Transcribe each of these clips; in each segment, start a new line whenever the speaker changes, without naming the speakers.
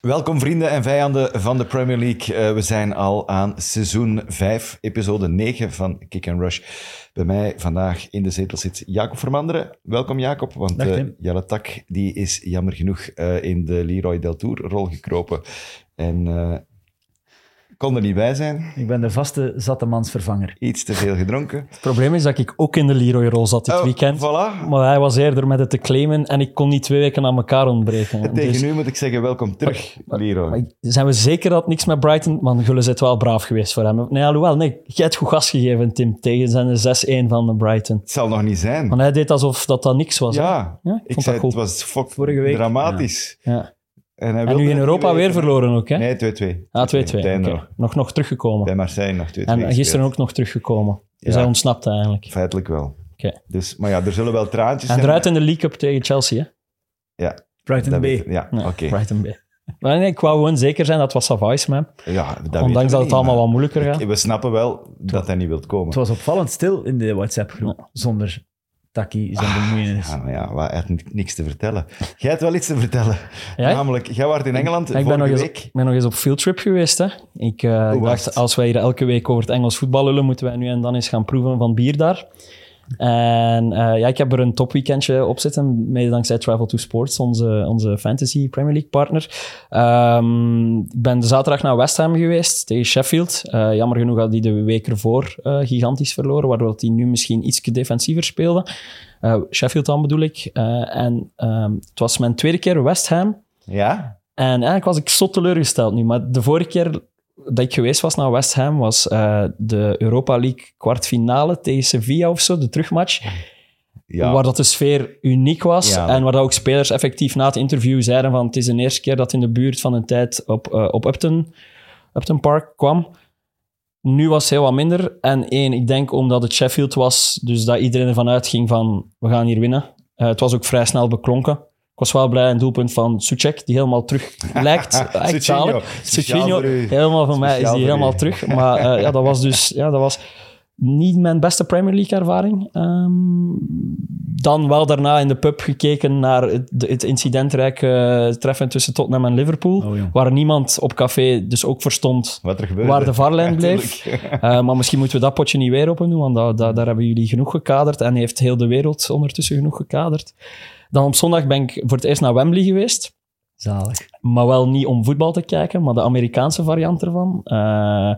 Welkom vrienden en vijanden van de Premier League. Eh, we zijn al aan seizoen 5, episode 9 van Kick and Rush. Bij mij vandaag in de zetel zit Jacob Vermanderen. Welkom Jacob, want
Dag,
eh,
Tim.
Jelle Tak die is jammer genoeg eh, in de Leroy Del Tour rol gekropen. En eh, kon er niet bij zijn,
Ik ben de vaste zattemansvervanger.
iets te veel gedronken.
Het probleem is dat ik ook in de Leroy-rol zat dit
Oh,
weekend.
Voilà.
Maar hij was eerder met het te claimen en ik kon die twee weken aan elkaar ontbreken. Dus-
Tegen u moet ik zeggen, welkom terug,
maar
Leroy.
ik- zijn we zeker dat het niks met Brighton... Man, Gullen is het wel braaf geweest voor hem. Nee, alhoewel, nee, jij hebt goed gas gegeven, Tim, tegen zijn 6-1 van de Brighton.
Het zal nog niet zijn.
Want hij deed alsof dat dat niks was. hè.
Ja,
Ja, ik
ik
vond
zei
dat goed.
het was fuck
Vorige week.
dramatisch.
Ja.
hij
En
wilde
nu in
het
Europa
niet
weer
weten.
verloren ook, hè?
Nee, 2-2.
ah, 2-2.
Bij
oké.
Nog.
Nog, nog teruggekomen.
Bij Marseille nog 2-2.
en gisteren
gespeeld.
ook nog teruggekomen. Dus
Ja.
hij ontsnapte eigenlijk.
Feitelijk wel.
Oké.
Dus, maar ja, er zullen wel traantjes
En
zijn.
eruit in de League Cup tegen Chelsea, hè?
Brighton
Dat
B.
weet- Ja,
Ja,
oké.
Brighton B. Maar nee, ik wou gewoon zeker zijn dat was Savais, man.
Ja, dat weten we
Ondanks dat
niet,
het allemaal
maar
wat moeilijker gaat.
We snappen wel dat hij niet wilt
Het
komen.
was opvallend stil in de WhatsApp-groep. Zonder takkie, zonder moeienis.
Ah, Ja, maar ja, wa- hij heeft niks te vertellen. Jij hebt wel iets te vertellen.
Ja?
Namelijk, jij was in Engeland
Ja, ik ben nog,
vorige
eens,
week.
ik ben nog eens op fieldtrip geweest. Hè. Ik eh,
Hoe was het?
dacht, als wij hier elke week over het Engels voetbal lullen, moeten wij nu en dan eens gaan proeven van bier daar. En eh, ja, ik heb er een topweekendje op zitten, mede dankzij Travel to Sports, onze, onze fantasy Premier League partner. Ehm, ik ben zaterdag naar West Ham geweest tegen Sheffield. Eh, jammer genoeg had die de week ervoor eh, gigantisch verloren, waardoor die nu misschien iets defensiever speelde. Eh, Sheffield dan bedoel ik. Eh, en ehm, het was mijn tweede keer West Ham.
Ja?
En eigenlijk was ik zo teleurgesteld nu. Maar de vorige keer dat ik geweest was naar West Ham was eh, de Europa League kwartfinale tegen Sevilla of zo, de terugmatch.
Ja.
Waar dat de sfeer uniek was.
Ja, dat-
en waar dat ook spelers effectief na het interview zeiden van het is de eerste keer dat in de buurt van een tijd op, eh, op Upton, Upton Park kwam. Nu was het heel wat minder. En één, ik denk omdat het Sheffield was, dus dat iedereen ervan uitging van we gaan hier winnen. Eh, het was ook vrij snel beklonken. Ik was wel blij een doelpunt van Suchek, die helemaal terug lijkt. Echt
Suchinho.
zalig.
Speciaal
Suchinho,
voor u.
helemaal van mij is
Speciaal
die
voor
helemaal
u.
terug. Maar eh, ja, dat was dus ja, dat was niet mijn beste Premier League ervaring. Ehm, dan wel daarna in de pub gekeken naar het, de- het incidentrijke eh, treffen tussen Tottenham en Liverpool.
Oh, jong.
waar niemand op café dus ook verstond
Wat er gebeurde.
waar de varlijn
Ja,
bleef.
tuurlijk.
Eh, maar misschien moeten we dat potje niet weer open doen, want da- da- daar hebben jullie genoeg gekaderd en heeft heel de wereld ondertussen genoeg gekaderd. Dan op zondag ben ik voor het eerst naar Wembley geweest
Zalig.
maar wel niet om voetbal te kijken, maar de Amerikaanse variant ervan. Eh,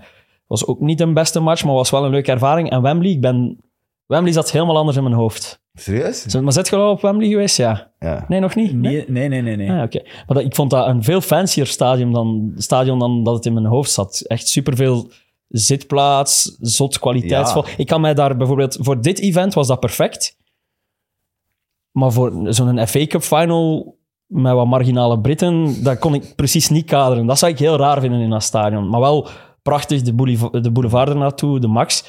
was ook niet een beste match, maar was wel een leuke ervaring. En Wembley, ik ben... Wembley zat helemaal anders in mijn hoofd.
Serieus?
Zit- Maar zit je al op Wembley geweest? Ja.
Ja.
Nee, nog niet?
Nee, nee, nee, nee. nee.
Ah, oké. Maar dat, ik vond dat een veel fancier stadion dan, stadion dan dat het in mijn hoofd zat. Echt superveel zitplaats, zot kwaliteitsvol.
Ja.
Ik kan mij daar bijvoorbeeld... Voor dit event was dat perfect. Maar voor zo'n FA Cup final met wat marginale Britten, dat kon ik precies niet kaderen. Dat zou ik heel raar vinden in dat stadion. Maar wel prachtig, de, bouleva- de boulevard ernaartoe, de Max.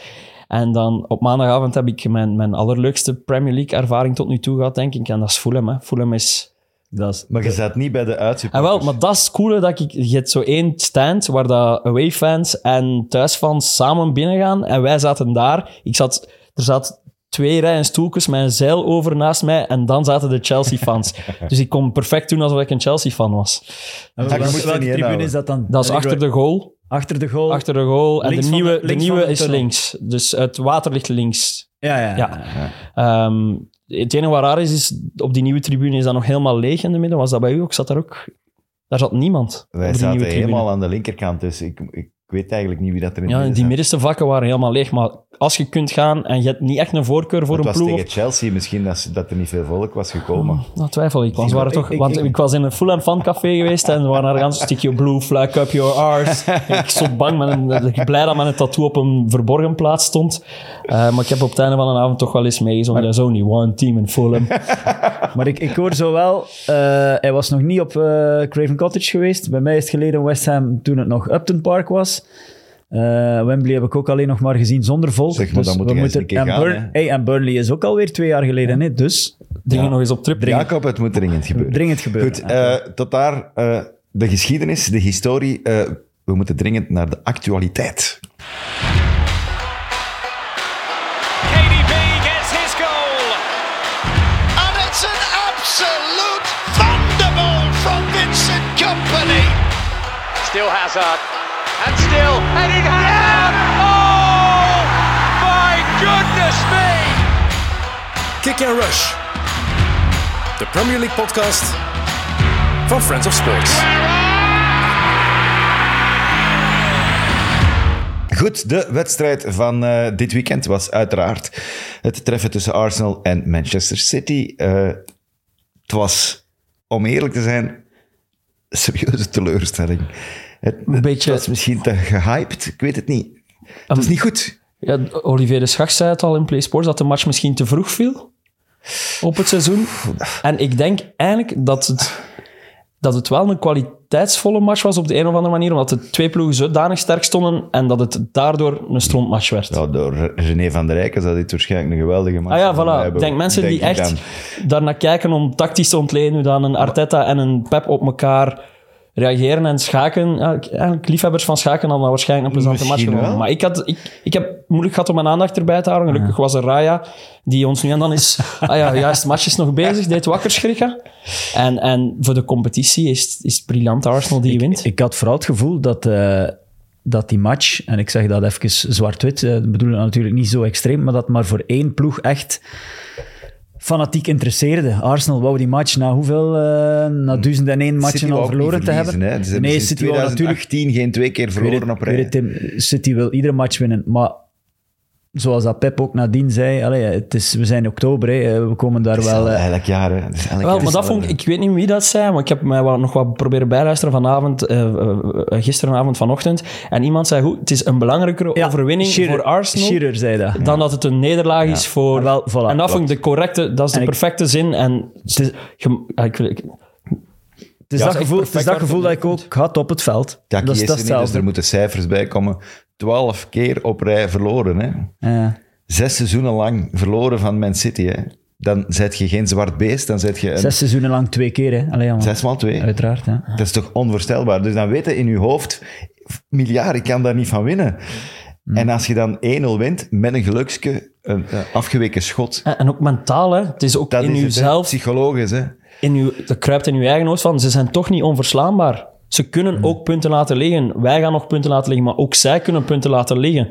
En dan op maandagavond heb ik mijn, mijn allerleukste Premier League ervaring tot nu toe gehad, denk ik. En dat is Fulham. Hè. Fulham is...
Dat is,
Maar je zat niet bij de
En
uitsupporters.
Ah, wel, maar dat is het coole dat ik... Je hebt zo één stand waar dat away-fans en thuisfans samen binnengaan. En wij zaten daar. Ik zat... Er zat twee rijen stoeltjes met een zeil over naast mij. En dan zaten de Chelsea-fans. dus ik kon perfect doen alsof ik een Chelsea-fan was.
en
je
welke-
moest er
welke
niet
tribune
inhouden.
is dat dan?
Dat is achter de goal.
achter de goal.
Achter de goal. En
Links
de
van de-
nieuwe, de
links van
nieuwe
de
is
tunnel.
links. Dus het water ligt links.
Ja, ja.
Ja. Ehm, het enige wat raar is, is op die nieuwe tribune is dat nog helemaal leeg in de midden. Was dat bij u ook? Zat daar ook... Daar zat niemand. op
Wij
die
zaten
nieuwe tribune.
helemaal aan de linkerkant, dus ik, ik weet eigenlijk niet wie dat er in
Ja,
midden
die
zat.
middenste vakken waren helemaal leeg. Maar als je kunt gaan en je hebt niet echt een voorkeur voor
Het
een
was
ploeg...
tegen Chelsea misschien dat, ze- dat er niet veel volk was gekomen.
Nou, twijfel ik. Want, ze waren
Ik-
toch,
ik-
want
ik-
ik, was in een Fulham fancafé geweest en we waren daar gaan stick your blue flag up your arse. ik stond bang, met een, ik blij dat mijn tattoo op een verborgen plaats stond. Eh, maar ik heb op het einde van de avond toch wel eens meegezongen. There's only one team in Fulham.
Maar ik, ik hoor zo wel... eh, hij was nog niet op eh, Craven Cottage geweest. Bij mij is het geleden West Ham toen het nog Upton Park was. Eh, Wembley heb ik ook alleen nog maar gezien zonder volk.
Zeg, maar
dus
dan moet
we
jij eens
moeten-
een keer
en,
gaan,
Burn-
hè.
hey, en Burnley is ook alweer twee jaar geleden, hè? dus
Dring
Ja.
nog eens op trip.
Jacob, het moet dringend gebeuren.
dringend gebeuren.
Goed, eh, tot daar eh, de geschiedenis, de historie. eh, we moeten dringend naar de actualiteit.
KDB gets his goal.
And it's an absolute thunderbolt from Vincent Company.
Still Hazard. And still Eden Hazard! Oh! My goodness me!
Kick and Rush. De Premier League podcast van Friends of Sports.
Goed, de wedstrijd van eh, dit weekend was uiteraard het treffen tussen Arsenal en Manchester City. Eh, het was, om eerlijk te zijn, een serieuze teleurstelling. Het,
Een beetje-
het was misschien te gehyped, ik weet het niet. Het was niet goed.
Ja, Olivier de Schach zei het al in PlaySports dat de match misschien te vroeg viel op het seizoen. En ik denk eigenlijk dat het, dat het wel een kwaliteitsvolle match was op de een of andere manier, omdat de twee ploegen zodanig sterk stonden en dat het daardoor een strontmatch werd.
Ja, door René van der Rijken zou dit waarschijnlijk een geweldige match
Ah ja,
van hem
voilà.
hebben.
Denk mensen die
ik
echt
dan.
daarnaar kijken om tactisch te ontleden hoe dan een Arteta en een Pep op elkaar reageren en schaken. Ja, Eigenlijk liefhebbers van schaken hadden waarschijnlijk een plezante
Misschien
match gewonnen.
wel.
Maar ik, had, ik, ik heb moeilijk gehad om mijn aandacht erbij te houden. Gelukkig was er Raya, die ons nu en dan is... ah ja, juist, de match is nog bezig, deed wakker schrikken. En, en voor de competitie is, het- is het briljant Arsenal die wint.
Ik had vooral het gevoel dat, eh, dat die match, en ik zeg dat even zwart-wit, eh, ik bedoel dat natuurlijk niet zo extreem, maar dat maar voor één ploeg echt fanatiek interesseerde. Arsenal wou die match na hoeveel, eh, na duizend en één matchen
Hmm. City wou
al
ook niet
verloren te
verliezen,
hebben.
Hè? Ze hebben
nee,
sinds
City wou natuurlijk
2018 geen twee keer
Ik weet
verloren op
het- ik
rij.
weet het, Tim. City wil iedere match winnen, maar zoals dat Pep ook nadien zei, allee, het is, we zijn in oktober, hè, eh, we komen daar
Het is
wel...
al
eh,
elk jaar. hè. Het is elk
Wel,
jaar
maar dat vond ik,
hetzelfde.
ik weet niet wie dat zei, maar ik heb mij wel nog wat proberen bijluisteren vanavond, eh, eh, eh, gisterenavond vanochtend. En iemand zei goed, het is een belangrijkere
eh, ja,
overwinning
Shearer-
voor Arsenal
Shearer zei dat.
dan dat het een nederlaag is voor...
Ah, wel, voilà,
en dat
klopt.
vond ik de correcte, dat is de
En ik-
perfecte zin. En
Het is,
je- ja, ik, ik-
het is
Ja,
dat
echt
gevoel, het is
perfect
dat gevoel dat ik
argument.
ook had op het veld.
Taki
dat
is
is
er
dat
niet, dus
hetzelfde.
er moeten cijfers bij komen. Twaalf keer op rij verloren. Hè?
Ja.
Zes seizoenen lang verloren van Man City. Hè? Dan zet je geen zwart beest, dan zet je een...
Zes seizoenen lang twee keer, hè? Allee, ja, man.
zesmaal twee.
Uiteraard, hè.
Dat is toch onvoorstelbaar? Dus dan weten in je hoofd, miljard, ik kan daar niet van winnen.
Hm.
En als je dan 1-0 wint, met een gelukske, een eh, afgeweken schot.
en en ook mentaal, hè. het is ook
Dat
in
is
jezelf,
het, hè. psychologisch. Hè?
in uw, dat kruipt in je eigen hoofd van, ze zijn toch niet onverslaanbaar. Ze kunnen
Hmm.
ook punten laten liggen. Wij gaan nog punten laten liggen, maar ook zij kunnen punten laten liggen.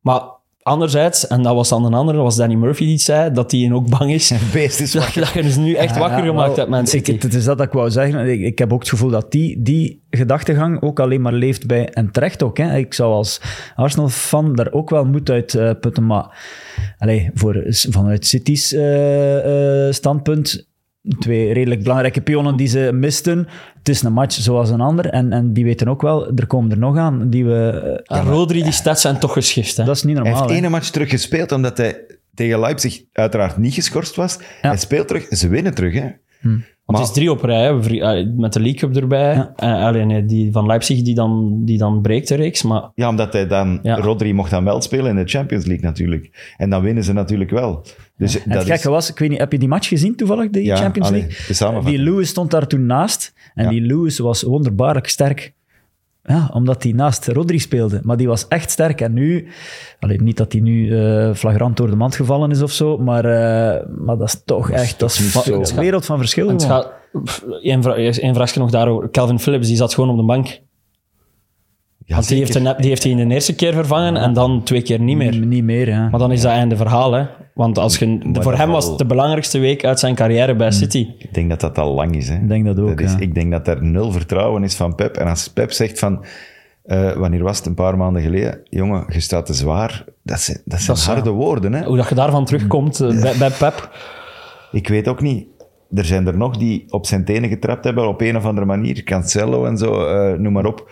Maar anderzijds, en dat was dan een andere, dat was Danny Murphy die het zei, dat hij ook bang is.
Beest is
dat, dat je dus nu echt wakker
Ja,
gemaakt
wel,
hebt, mensen.
Ik, het is dat dat ik wou zeggen. Ik, ik heb ook het gevoel dat die, die gedachtegang ook alleen maar leeft bij... En terecht ook, hè. Ik zou als Arsenal-fan daar ook wel moed uit eh, putten. Maar allee, voor, vanuit City's eh, eh, standpunt... Twee redelijk belangrijke pionnen die ze misten. Het is een match zoals een ander. En, en die weten ook wel, er komen er nog aan die we... eh,
En Rodri, die stats zijn toch geschift, hè?
dat is niet
Hij
normaal,
heeft
hè.
één match teruggespeeld omdat hij tegen Leipzig uiteraard niet geschorst was. Hij speelt terug, ze winnen terug. Hè?
Want
Maar-
het is drie op rij, hè. We vrie- allee, met de League Cup erbij. Eh, alleen eh, die van Leipzig, die dan, die dan breekt de reeks. Maar
Ja, omdat hij dan,
Ja.
Rodri mocht dan wel spelen in de Champions League natuurlijk. En dan winnen ze natuurlijk wel. Dus
En
dat
het gekke
is,
was, ik weet niet, heb je die match gezien toevallig, de
Ja,
Champions
allee,
League?
de samenvatting.
Die Lewis stond daar toen naast. En
Ja.
die Lewis was wonderbaarlijk sterk. Ja, omdat hij naast Rodri speelde. Maar die was echt sterk. En nu, allee, niet dat hij nu eh, flagrant door de mand gevallen is of zo, maar, eh, maar dat is toch echt dat is
niet
va-
zo.
een wereld van verschil.
het
gewoon.
gaat... pff, één vra- één vraagje nog daarover. Calvin Phillips, die zat gewoon op de bank.
ja,
Want die heeft,
zeker.
een, die heeft hij in de eerste keer vervangen en dan twee keer niet meer.
Mm, Niet meer, ja.
Ah,
Maar dan is dat einde verhaal, hè. Want als je, voor
dat
hem was
wel- Mm.
het de belangrijkste week uit zijn carrière bij City.
Ik denk dat dat al lang is. Hè. Ik
denk dat ook,
is,
ja.
Ik denk dat er nul vertrouwen is van Pep. En als Pep zegt van, eh, wanneer was het, een paar maanden geleden, jongen, je staat te zwaar. Dat zijn, dat zijn
is,
harde woorden. Hè.
Hoe dat je daarvan terugkomt eh, bij, bij Pep.
Ik weet ook niet. Er zijn er nog die op zijn tenen getrapt hebben op een of andere manier. Cancelo en zo, eh, noem maar op.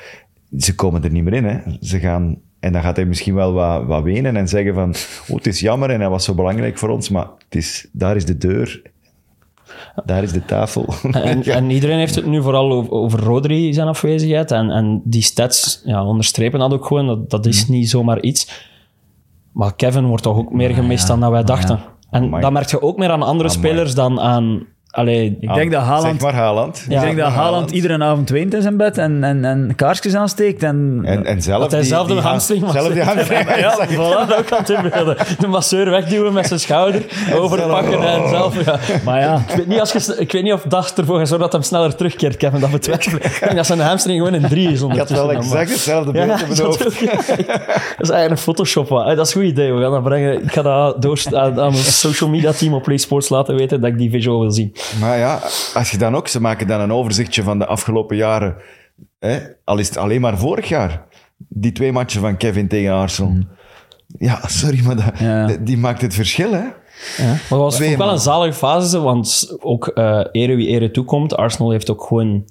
Ze komen er niet meer in. Hè. Ze gaan, en dan gaat hij misschien wel wat, wat wenen en zeggen van... Oh, het is jammer en hij was zo belangrijk voor ons, maar het is, daar is de deur. Daar is de tafel.
En, en iedereen heeft het nu vooral over, over Rodri, zijn afwezigheid. En, en die stats ja, onderstrepen dat ook gewoon. Dat, dat
Mm.
is niet zomaar iets. Maar Kevin wordt toch ook meer gemist dan dat wij dachten. En
Amai. Ah,
dat merk je ook meer aan andere
Amai.
spelers dan aan Allee,
Ah,
Ik denk dat Haaland,
Zeg maar Haaland.
Ja.
ik denk dat
maar
Haaland,
Haaland.
iedere avond weent in zijn bed en, en, en kaarsjes aansteekt. En,
En, en zelf
Dat hij zelf de
ha-
hamstring was.
Zelf die hamstring
ja,
was.
voilà, dat kan te beelden. De masseur wegduwen met zijn schouder, overpakken en zelf... Ja.
Maar ja,
Ik weet, niet als je, ik weet niet of dag ervoor gezorgd dat hem sneller terugkeert, Kevin. Dat betwijfel ik. Ik denk dat zijn hamstring gewoon een drie
Ik
is
had wel
ondertussen. dan, maar-
exact hetzelfde
Ja,
beeld in
dat,
mijn hoofd.
wil ik. dat is eigenlijk een Photoshop. wat. Eh, Dat is een goed idee. We gaan dat brengen. Ik ga dat door aan, aan ons social media team op PlaySports laten weten dat ik die visual wil zien.
Maar ja, als je dan ook, ze maken dan een overzichtje van de afgelopen jaren. Hè? Al is het alleen maar vorig jaar. Die twee matchen van Kevin tegen Arsenal.
Mm.
Ja, sorry, maar dat,
Ja.
die- die maakt het verschil, hè?
Maar het was
Twee
ook wel
man.
een zalige fase, want ook eh ere wie ere toekomt, Arsenal heeft ook gewoon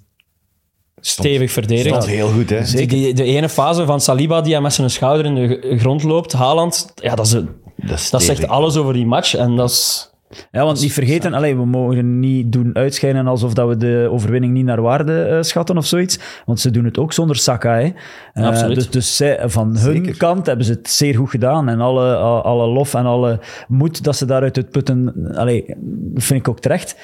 stevig verdedigd.
Dat is heel goed, hè?
Dus Die- die- de ene fase van Saliba die hij met zijn schouder in de g- grond loopt, Haaland, ja, dat, is een-
is
dat
stevig.
zegt alles over die match. En dat is,
ja want niet vergeten, allee, we mogen niet doen uitschijnen alsof dat we de overwinning niet naar waarde eh, schatten of zoiets. Want ze doen het ook zonder Saka. Hè. Eh,
Absoluut.
Dus, dus zij, van hun
Zeker.
kant hebben ze het zeer goed gedaan. En alle, a- alle lof en alle moed dat ze daaruit uitputten, allee, dat vind ik ook terecht.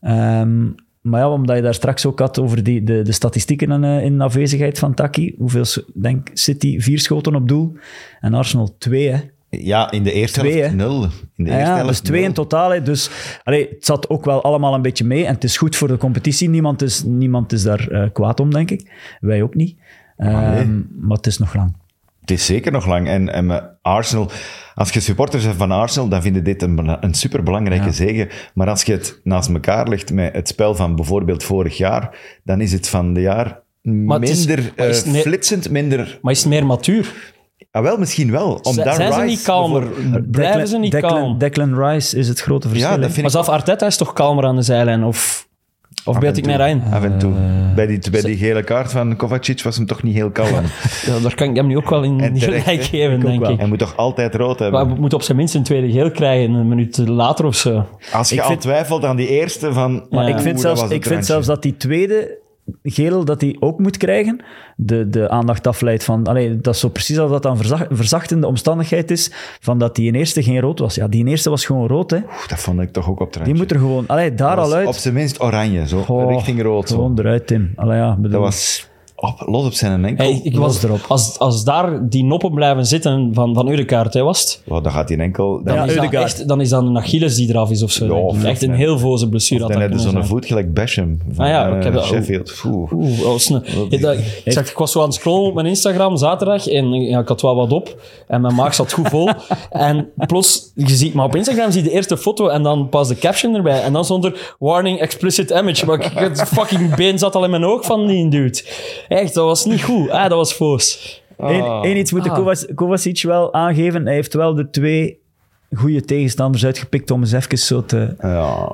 Ehm, maar ja, omdat je daar straks ook had over die, de, de statistieken in, eh, in afwezigheid van Taki. Hoeveel, s- denk City, vier schoten op doel. En Arsenal twee, hè.
Ja, in de eerste
Twee,
helft
hè?
nul. In de
Ja,
eerste
ja,
helft
dus twee in
nul.
totaal. hè. Dus allee, het zat ook wel allemaal een beetje mee. En het is goed voor de competitie. Niemand is, niemand is daar eh, kwaad om, denk ik. Wij ook niet. Ehm, Maar het is nog lang.
Het is zeker nog lang. En, en eh, Arsenal, als je supporters bent van Arsenal, dan vind je dit een, bela- een superbelangrijke zege. Maar als je het naast elkaar legt met het spel van bijvoorbeeld vorig jaar, dan is het van de jaar
het is-
minder
maar is
eh,
het ne-
flitsend, minder...
maar is het meer matuur?
Ah, wel, misschien wel. Om
Z-
daar
zijn ze
Rice
niet kalmer?
voor-
Blijven ze niet
Declan,
kalm?
Declan Rice is het grote verschil.
Ja, dat
hè.
vind
Maar
ik
zelf Arteta is toch kalmer aan de zijlijn? Of, of beeld ik
toe.
mij in?
af en toe. bij, die, bij die gele kaart van Kovacic was hem toch niet heel kalm.
Ja, daar kan ik hem nu ook wel in
En
niet
terecht,
gelijk
hè?
geven, denk
wel.
ik.
Hij moet toch altijd rood hebben?
Maar we moeten op zijn minst een tweede geel krijgen, een minuut later of zo.
Als je
Ik
al
vind-
twijfelt aan die eerste van...
Maar
Maar ik
Oeh,
vind,
dat was
zelfs,
een
ik vind
traantje.
zelfs dat die tweede geel dat hij ook moet krijgen, de, de aandacht afleidt van... Allee, dat is zo precies als dat dan verzach- verzachtende omstandigheid is, van dat die in eerste geen rood was. Ja, die in eerste was gewoon rood, hè.
Oeh, Dat vond ik toch ook op
Die
traantje.
moet er gewoon... Allee, daar al
Op
uit.
zijn minst oranje, zo.
Oh,
richting rood. Zo.
Gewoon eruit, Tim. Allee, ja, bedoel,
Dat was op, los op zijn enkel.
Hey, ik
los
was,
erop.
Als, als daar die noppen blijven zitten van, van Urekaart, hè, was het?
Oh, dan gaat hij enkel. Dan,
Dan,
Ja,
is dat
Ødegaard.
echt, dan is dat een Achilles die eraf is of zo.
Ja,
denk ik.
of-
echt een
of-
heel voze blessure. had
dan
dat
heb je
kunnen
zo'n
zijn.
voet gelijk Basham van
Ah ja,
eh,
ik heb dat-
Sheffield. Oeh.
Oeh, dat was een- ik, dacht- ik, zag, ik was zo aan het scrollen op mijn Instagram zaterdag en ja, ik had wel wat op en mijn maag zat goed vol. en plots, je ziet, maar op Instagram zie je de eerste foto en dan pas de caption erbij. En dan stond er warning explicit image. Maar ik, het fucking been zat al in mijn oog van die dude. Echt, dat was niet goed. Ah, dat was foos.
Eén één iets moet de Kovac- Kovacic wel aangeven. Hij heeft wel de twee goede tegenstanders uitgepikt om eens even zo te...
Ja.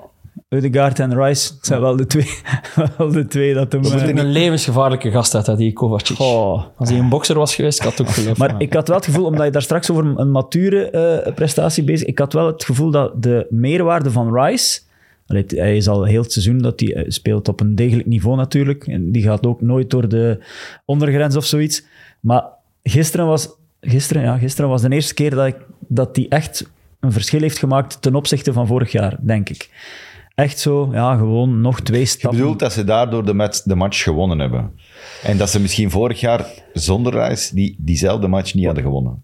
Udegaard en Rice het zijn wel de twee, wel de twee dat hem... eh,
Een levensgevaarlijke gast uit, hè, die Kovacic.
Oh.
Als hij een bokser was geweest, ik had het ook geloofd.
Maar ik had wel het gevoel, omdat je daar straks over een mature eh, prestatie bezig ik had wel het gevoel dat de meerwaarde van Rice... allee, het- hij is al heel het seizoen dat hij eh, speelt op een degelijk niveau natuurlijk. En die gaat ook nooit door de ondergrens of zoiets. Maar gisteren was, gisteren, ja, gisteren was de eerste keer dat, ik, dat hij echt een verschil heeft gemaakt ten opzichte van vorig jaar, denk ik. Echt zo, ja, gewoon nog twee
Je
stappen.
bedoelt dat ze daardoor de match, de match gewonnen hebben. En dat ze misschien vorig jaar zonder reis die, diezelfde match niet hadden gewonnen.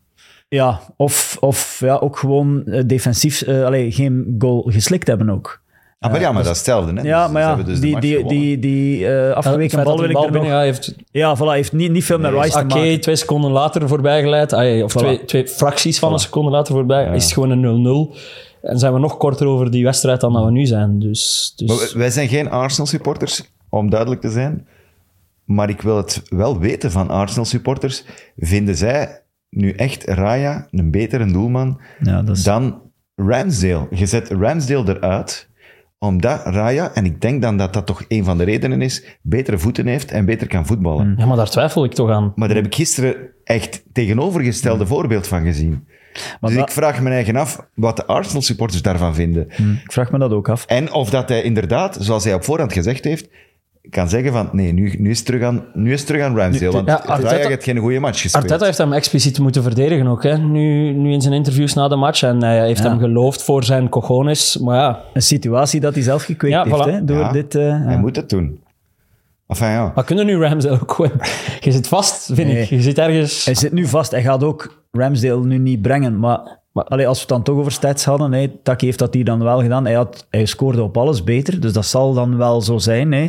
Ja, of, of ja, ook gewoon eh, defensief eh, allee, geen goal geslikt hebben ook.
Ah, maar ja, maar dat is hetzelfde. Hè?
Ja,
Dus
maar
ze
ja,
hebben dus de
die,
match
die,
gewonnen.
die, die eh,
Het feit
afgeweken
dat
bal
de
wil ik
bal dus
er nog...
binnen- ja, heeft
Ja, voilà, heeft niet, niet veel met Rice te
Oké,
maken.
twee seconden later voorbijgeleid. Ah, ja, of twee, twee fracties van een seconde later voorbij. Is het gewoon een 0-0. En zijn we nog korter over die wedstrijd dan dat we nu zijn. Dus, dus
Maar wij- wij zijn geen Arsenal-supporters, om duidelijk te zijn. Maar ik wil het wel weten van Arsenal-supporters. Vinden zij nu echt Raya een betere doelman
Ja, dat is-
dan Ramsdale? Je zet Ramsdale eruit, omdat Raya, en ik denk dan dat dat toch een van de redenen is, betere voeten heeft en beter kan voetballen.
Hmm.
ja, maar daar twijfel ik toch aan.
Maar daar heb ik gisteren echt tegenovergestelde voorbeeld van gezien. dus
Hmm. dat-
ik vraag me eigen af wat de Arsenal-supporters daarvan vinden.
Ik vraag me dat ook af.
En of dat hij inderdaad, zoals hij op voorhand gezegd heeft, kan zeggen van nee, nu, nu, is, het terug aan, nu is het terug aan Ramsdale. Want
ja,
Arteta,
Arteta-
heeft geen goede match gespeeld.
Arteta heeft hem expliciet moeten verdedigen ook. Hè? Nu, nu in zijn interviews na de match. En hij heeft
Ja.
hem geloofd voor zijn cojones. Maar ja,
Een situatie dat hij zelf gekweekt
Ja,
heeft
voilà.
hè, door
Ja,
dit... eh,
Hij
ja.
moet het doen. Enfin ja,
maar kunnen nu Ramsdale ook gewoon... Je zit vast, vind
Nee.
ik. Je zit ergens...
Hij zit nu vast. Hij gaat ook Ramsdale nu niet brengen. Maar,
Maar-
allee, als we het dan toch over stats hadden, hè, Taki heeft dat hier dan wel gedaan. Hij, had, hij scoorde op alles beter, dus dat zal dan wel zo zijn. Hè.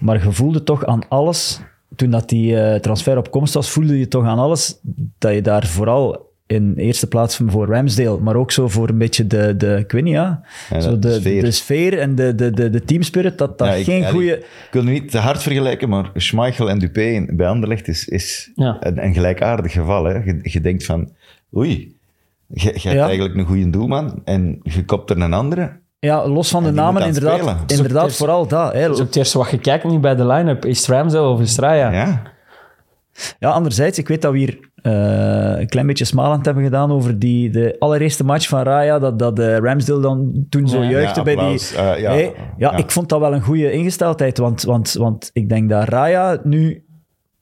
Maar je voelde toch aan alles, toen dat die eh, transfer op komst was, voelde je toch aan alles dat je daar vooral in eerste plaats voor Ramsdale, maar ook zo voor een beetje de, de ik weet niet, ja,
Ja,
zo
de
de,
sfeer.
de sfeer en de, de, de, de teamspirit, dat dat
Ja, ik-
geen
allee,
goede...
Ik wil nu niet te hard vergelijken, maar Schmeichel en Dupé in- bij Anderlecht is, is
Ja.
een, een gelijkaardig geval. Hè. Je, je denkt van, oei, je, je hebt
Ja.
eigenlijk een goede doelman en je kopt er een andere.
Ja, los van de
En die
namen,
moet dan
inderdaad,
spelen.
inderdaad
Dus-
vooral dat. Hè,
Dus ook het eerste wat je kijkt nu bij de line-up is het Ramsdale of is het Raya.
Ja,
Ja, anderzijds, ik weet dat we hier eh, een klein beetje smalend hebben gedaan over die, de allereerste match van Raya, dat, dat eh, Ramsdale dan toen zo
Ja.
juichte
Ja,
bij
applaus.
die...
Eh, ja,
Hey, ja,
ja.
ik vond dat wel een goede ingesteldheid, want, want, want ik denk dat Raya nu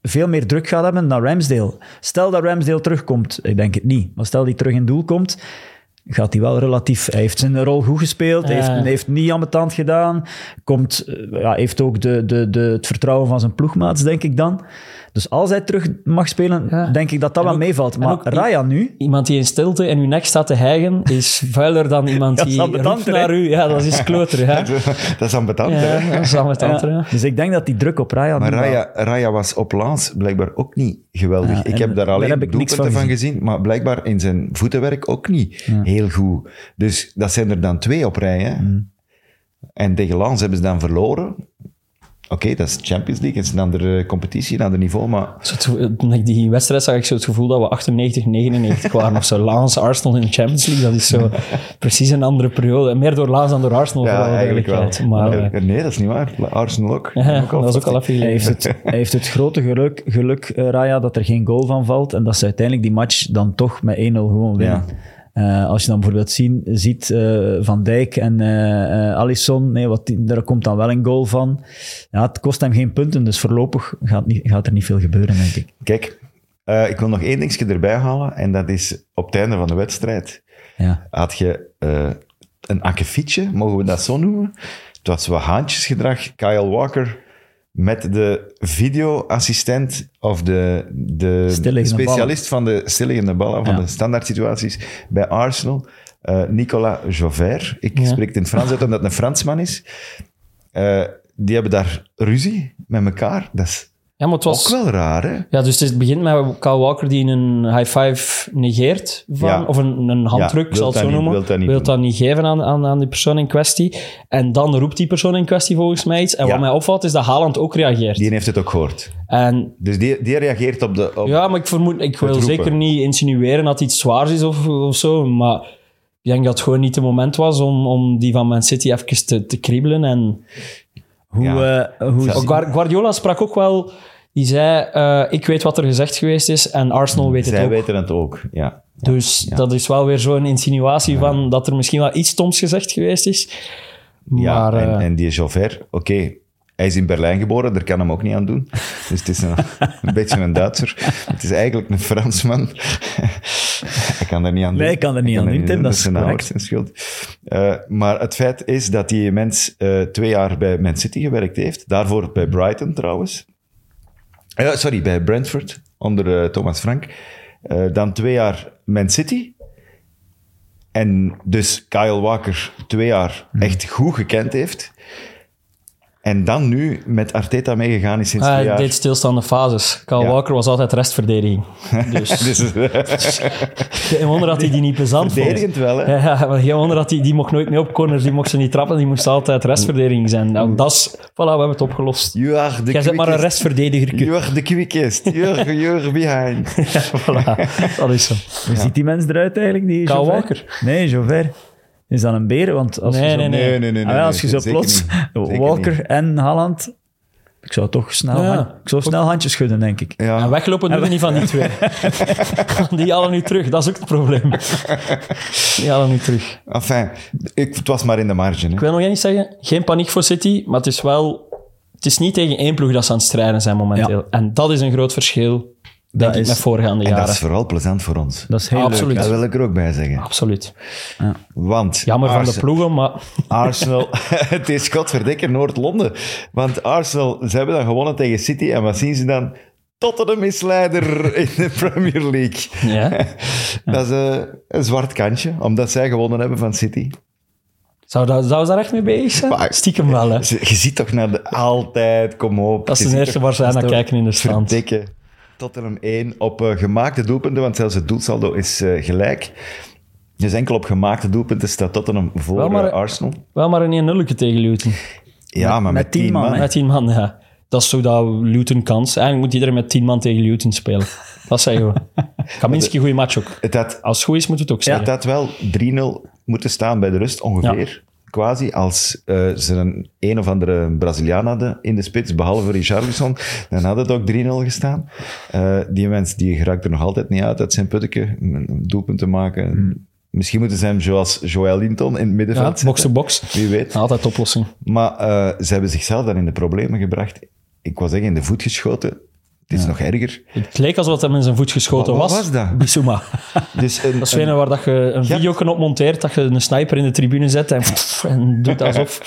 veel meer druk gaat hebben naar Ramsdale. Stel dat Ramsdale terugkomt, ik denk het niet, maar stel die terug in doel komt, gaat hij wel relatief... Hij heeft zijn rol goed gespeeld, hij heeft,
Ja.
hij heeft niet ambetant gedaan, komt, eh, ja, heeft ook de, de, de, het vertrouwen van zijn ploegmaats, denk ik dan. Dus als hij terug mag spelen,
Ja.
denk ik dat dat
En
wel
ook-
meevalt.
en
Maar
ook-
Raya nu...
Iemand die in stilte in uw nek staat te hijgen, is vuiler dan iemand
Ja,
die
dat is
roept
ambetanter,
naar
hè?
u. Ja, dat is kloter. Ja,
dat is ambetant. hè.
ja dat is ambetant,
ja,
hè.
dus ik denk dat die druk op Raya...
Maar
nu wel-
Raya, Raya was op Laans blijkbaar ook niet geweldig.
Ja,
ik
en
heb daar
daar
alleen
heb ik niks
doelpunten
van
van gezien. maar blijkbaar in zijn voetenwerk ook niet heel goed. Dus dat zijn er dan twee op rij. Hè? En tegen Laans hebben ze dan verloren. Oké, dat is Champions League, het is een andere competitie, een ander niveau, maar
Zo het gevoel- toen ik die wedstrijd zag ik zo het gevoel dat we 98, 99 waren of zo. Laans, Arsenal in de Champions League, dat is zo precies een andere periode. Meer door Laans dan door Arsenal,
ja,
vooral
eigenlijk wel.
eerlijkheid. Maar eh,
Ja, nee, dat is niet waar. Arsenal ook.
ja, dat was ook al even
Hij heeft, het, hij heeft het grote geluk, geluk eh, Raya, dat er geen goal van valt. En dat ze uiteindelijk die match dan toch met 1-0 gewoon winnen.
Ja.
Eh, als je dan bijvoorbeeld zien, ziet eh, Van Dijk en eh eh, Alisson, nee, wat, die- daar komt dan wel een goal van. Ja, het kost hem geen punten, dus voorlopig gaat, niet, gaat er niet veel gebeuren, denk ik.
Kijk, eh, ik wil nog één dingetje erbij halen, en dat is op het einde van de wedstrijd.
Ja.
had je eh, een akkefietje, mogen we dat zo noemen? Het was wat haantjesgedrag. Kyle Walker met de videoassistent of de, de
Stilliggende
specialist van de stilliggende ballen, van
Ja.
de standaard situaties bij Arsenal, eh, Nicolas Jauvert. Ik
Ja.
spreek het in het Frans uit omdat het een Fransman is. Eh, die hebben daar ruzie met elkaar. Dat is
Ja, maar het
ook
was...
wel raar, hè?
Ja, dus het begint met Kyle Walker die een high five negeert, van,
Ja.
of een, een handdruk,
Ja, wil
zal het
dat
zo
niet-
noemen.
wil dat niet doen.
geven aan, aan, aan die persoon in kwestie. En dan roept die persoon in kwestie volgens mij iets. En
Ja.
wat mij opvalt is dat Haaland ook reageert.
Die heeft het ook gehoord.
En
Dus die, die reageert op de... Op,
Ja, maar ik, vermoed, ik wil
roepen.
zeker niet insinueren dat iets zwaars is of, of zo. Maar ik denk dat het gewoon niet het moment was om, om die van Man City even te, te kriebelen. En
Hoe,
Ja.
eh, hoe
Oh, Guar- Guardiola sprak ook wel. Die zei: eh, Ik weet wat er gezegd geweest is en Arsenal weet het
Mm. Zij
ook.
weten het ook, ja.
dus dat is wel weer zo'n insinuatie van dat er misschien wel iets stoms gezegd geweest is.
Ja,
Maar, eh,
en, en die Jauvert, oké, hij is in Berlijn geboren, daar kan hem ook niet aan doen. Dus het is een, een beetje een Duitser. Het is eigenlijk een Fransman. hij kan er niet aan doen.
Nee, hij kan er niet
Hij
aan doen, Tim, dat is
zijn
correct.
ouders zijn schuld. Eh, maar het feit is dat die mens eh, twee jaar bij Man City gewerkt heeft. Daarvoor
Mm.
bij Brighton trouwens. Eh, sorry, bij Brentford, onder eh, Thomas Frank. Eh, dan twee jaar Man City. En dus Kyle Walker twee jaar
Mhm.
echt goed gekend heeft. En dan nu met Arteta meegegaan is sinds
eh,
twee jaar.
dit stilstaande fases. Kyle
Ja.
Walker was altijd restverdediging. Dus,
Dus,
geen wonder dat hij die niet plezant vond.
verdedigend wel, hè?
Ja, maar geen wonder dat die, die mocht nooit mee op corners, die mocht ze niet trappen, die moest altijd restverdediging zijn. Nou,
Mm.
dat is, voilà, we hebben het opgelost.
You are the
Jij bent maar een
quickest.
restverdediger.
You are the quickest. You are, you are behind.
Voilà, dat is zo.
hoe ziet die mens eruit eigenlijk? Die
Kyle
Jauvert?
Walker.
Nee, Jauvert. Is dat een beer? Want als
Nee,
je zo,
nee,
Nee, nee, nee.
Ah
nee,
ja, als je
nee,
zo
zeker
plots
niet. Zeker
Walker
niet.
en Haaland... Ik zou toch snel,
Ja.
hand- ik zou snel handjes schudden, denk ik.
Ja.
En weglopen doen we niet van die twee. Die halen nu terug, dat is ook het probleem. Die halen nu terug.
Enfin, ik, het was maar in de marge. Hè.
Ik wil nog eens zeggen, geen paniek voor City, maar het is wel Het is niet tegen één ploeg dat ze aan het strijden zijn momenteel. En dat is een groot verschil, denk ik,
is-
met voorgaande
En
jaren.
dat is vooral plezant voor ons.
Dat is heel
Absoluut.
leuk.
Dat wil ik er ook bij zeggen.
Absoluut.
Want
Jammer van de
Arse-
ploegen, maar
Arsenal, het is godverdikke Noord-Londen. Want Arsenal, ze hebben dan gewonnen tegen City. En wat zien ze dan? Tottenham is leider in de Premier League.
ja.
Dat is eh, een zwart kantje, omdat zij gewonnen hebben van City.
zou, dat, zou ze daar echt mee bezig zijn?
Maar-
Stiekem wel, hè.
Ze- Je ziet toch naar de... Altijd, kom op.
Dat is
Je
de
ziet
eerste
toch-
waar ze
dat
naar
is toch
kijken in de stand.
Verdikke. Tottenham 1 op eh, gemaakte doelpunten, want zelfs het doelsaldo is eh, gelijk. Dus enkel op gemaakte doelpunten staat Tottenham voor
Wel, maar-
eh, Arsenal.
Wel maar een 1 0 tegen Luton.
Ja, maar met,
met tien
10 man.
man,
hè.
Met 10 man, ja. Dat is zo dat Luton kans. Eigenlijk moet iedereen met 10 man tegen Luton spelen. Dat zeggen we. Kaminski, goede match ook.
Het had
Als het goed is, moet het ook
Ja.
zijn.
Het had wel 3-0 moeten staan bij de rust, ongeveer. Quasi, als eh, ze een, een of andere Braziliaan hadden in de spits, behalve Richarlison, dan had het ook 3-0 gestaan. Eh, die mens die geraakt er nog altijd niet uit, uit zijn putteke, een- een doelpunt te maken. Misschien moeten ze hem zoals Joël Linton in het
Hmm. Ja,
middenveld
box to
zetten.
box.
Wie weet.
Altijd oplossing.
Maar eh, ze hebben zichzelf dan in de problemen gebracht. Ik was echt in de voet geschoten. Het is nog erger.
Het leek alsof dat hem in zijn voet geschoten
Wat- wat
was.
was dat?
Bissouma.
Dus een,
Dat is een waar dat je een
Ja.
videoknop monteert, dat je een sniper in de tribune zet en, pff, en doet alsof...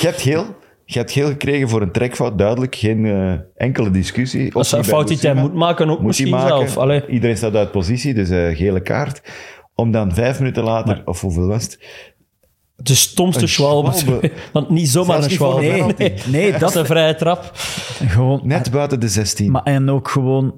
Je hebt geel. Je hebt geel gekregen voor een trekfout, duidelijk. Geen eh, enkele discussie. Of
Dat is een
niet bij
fout die hij
Lucima.
moet maken, ook
Moet hij
misschien
maken.
zelf. Allee.
Iedereen staat uit positie, dus eh, gele kaart. Om dan vijf minuten later, of hoeveel was het?
De stomste
Een
schwalbe.
schwalbe.
Want niet zomaar
Zelfs
een
niet voor
schwalbe.
een
Nee,
penalty.
nee.
Nee,
Dat is
dat
een vrije trap.
gewoon.
Net
Ah,
buiten de 16.
Maar en ook gewoon.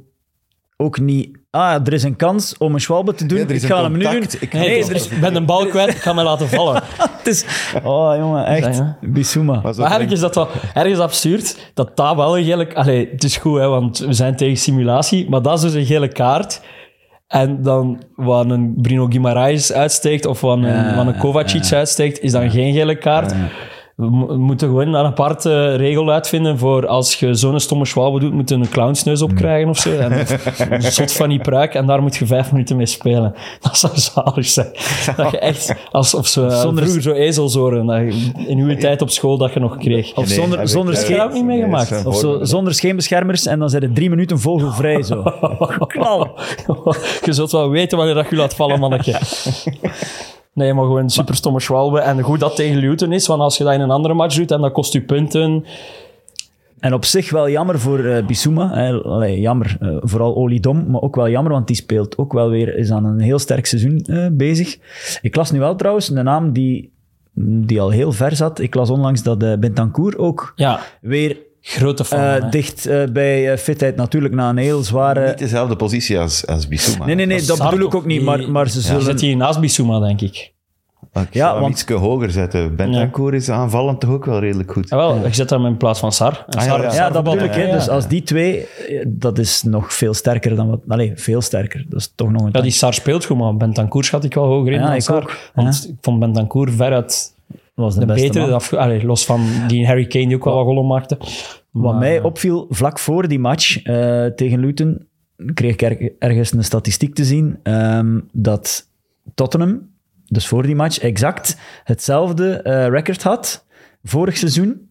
Ook niet. Ah, er is een kans om een schwalbe te doen.
Ja, er is
ik
een
ga hem nu doen.
contact. Ik-
Nee,
nee,
ik
er is,
ben een bal kwijt, ik ga mij laten vallen.
het is. Oh, jongen, echt.
Ja,
Bissouma.
Pas op,
Maar
denk-
ergens is dat wel ergens absurd dat dat wel een gele... Allee, het is goed, hè, want we zijn tegen simulatie, maar dat is dus een gele kaart. En dan wat een Bruno Guimaraes uitsteekt of wat een, wat een Kovacic uitsteekt, is dan geen gele kaart. We mo- we moeten gewoon een aparte regel uitvinden voor als je zo'n stomme schwalbe doet, moet je een clownsneus opkrijgen of zo. En een zot van die pruik en daar moet je vijf minuten mee spelen. Dat zou zalig zijn. Dat je echt, alsof ze
Zonder-
vroeger zo ezelsoren, dat je in uw tijd op school dat je nog kreeg.
Of
Nee,
zonder,
heb ik-
zonder,
eh,
heb ik
scheen,
ook niet meegemaakt.
nee, is, eh,
of zo, zonder scheenbeschermers en dan zijn er drie minuten vogelvrij zo. Knal.
je zult wel weten wanneer dat je laat vallen, mannetje. Nee, maar gewoon super stomme schwalbe. En goed dat tegen Luton is, want als je dat in een andere match doet en dat kost je punten.
En op zich wel jammer voor eh Bissouma. hè. Allee, jammer, eh, vooral Olidom, maar ook wel jammer, want die speelt ook wel weer, is aan een heel sterk seizoen eh, bezig. Ik las nu wel trouwens een naam die, die al heel ver zat. Ik las onlangs dat eh Bentancourt ook
Ja,
weer
grote fan.
eh,
hè.
dicht eh, bij eh, fitheid natuurlijk, na een heel zware...
eh,
Niet dezelfde positie als, als Bissouma.
Nee, nee, nee, dat
Sar
bedoel ik
toch
ook niet,
niet?
maar, maar ze
Je
zullen...
zit hier naast Bissouma, denk ik.
Ik
Ja,
zou hem
want-
ietske hoger zetten. Bentancur is aanvallend toch ook wel redelijk goed.
Ja, Ah, wel, je zet hem in plaats van Sar. En
ja,
Sar
ja.
Sar
Ah, Ja, dat bedoel ik.
voetbalde.
hè. Dus als die twee, eh, dat is nog veel sterker dan wat... Allee, veel sterker. Dat is toch nog een...
Ja, die Sar speelt goed, maar Bentancourt schat ik wel hoger in
Ja,
dan
ik
Sar.
ook.
Want ik vond Bentancourt veruit
was de,
de,
beste
betere.
man.
af- allee, los van die Harry Kane die ook wel wat gollen maakte.
Wat mij opviel vlak voor die match eh, tegen Luton, kreeg ik er- ergens een statistiek te zien ehm, dat Tottenham, dus voor die match, exact hetzelfde eh, record had vorig seizoen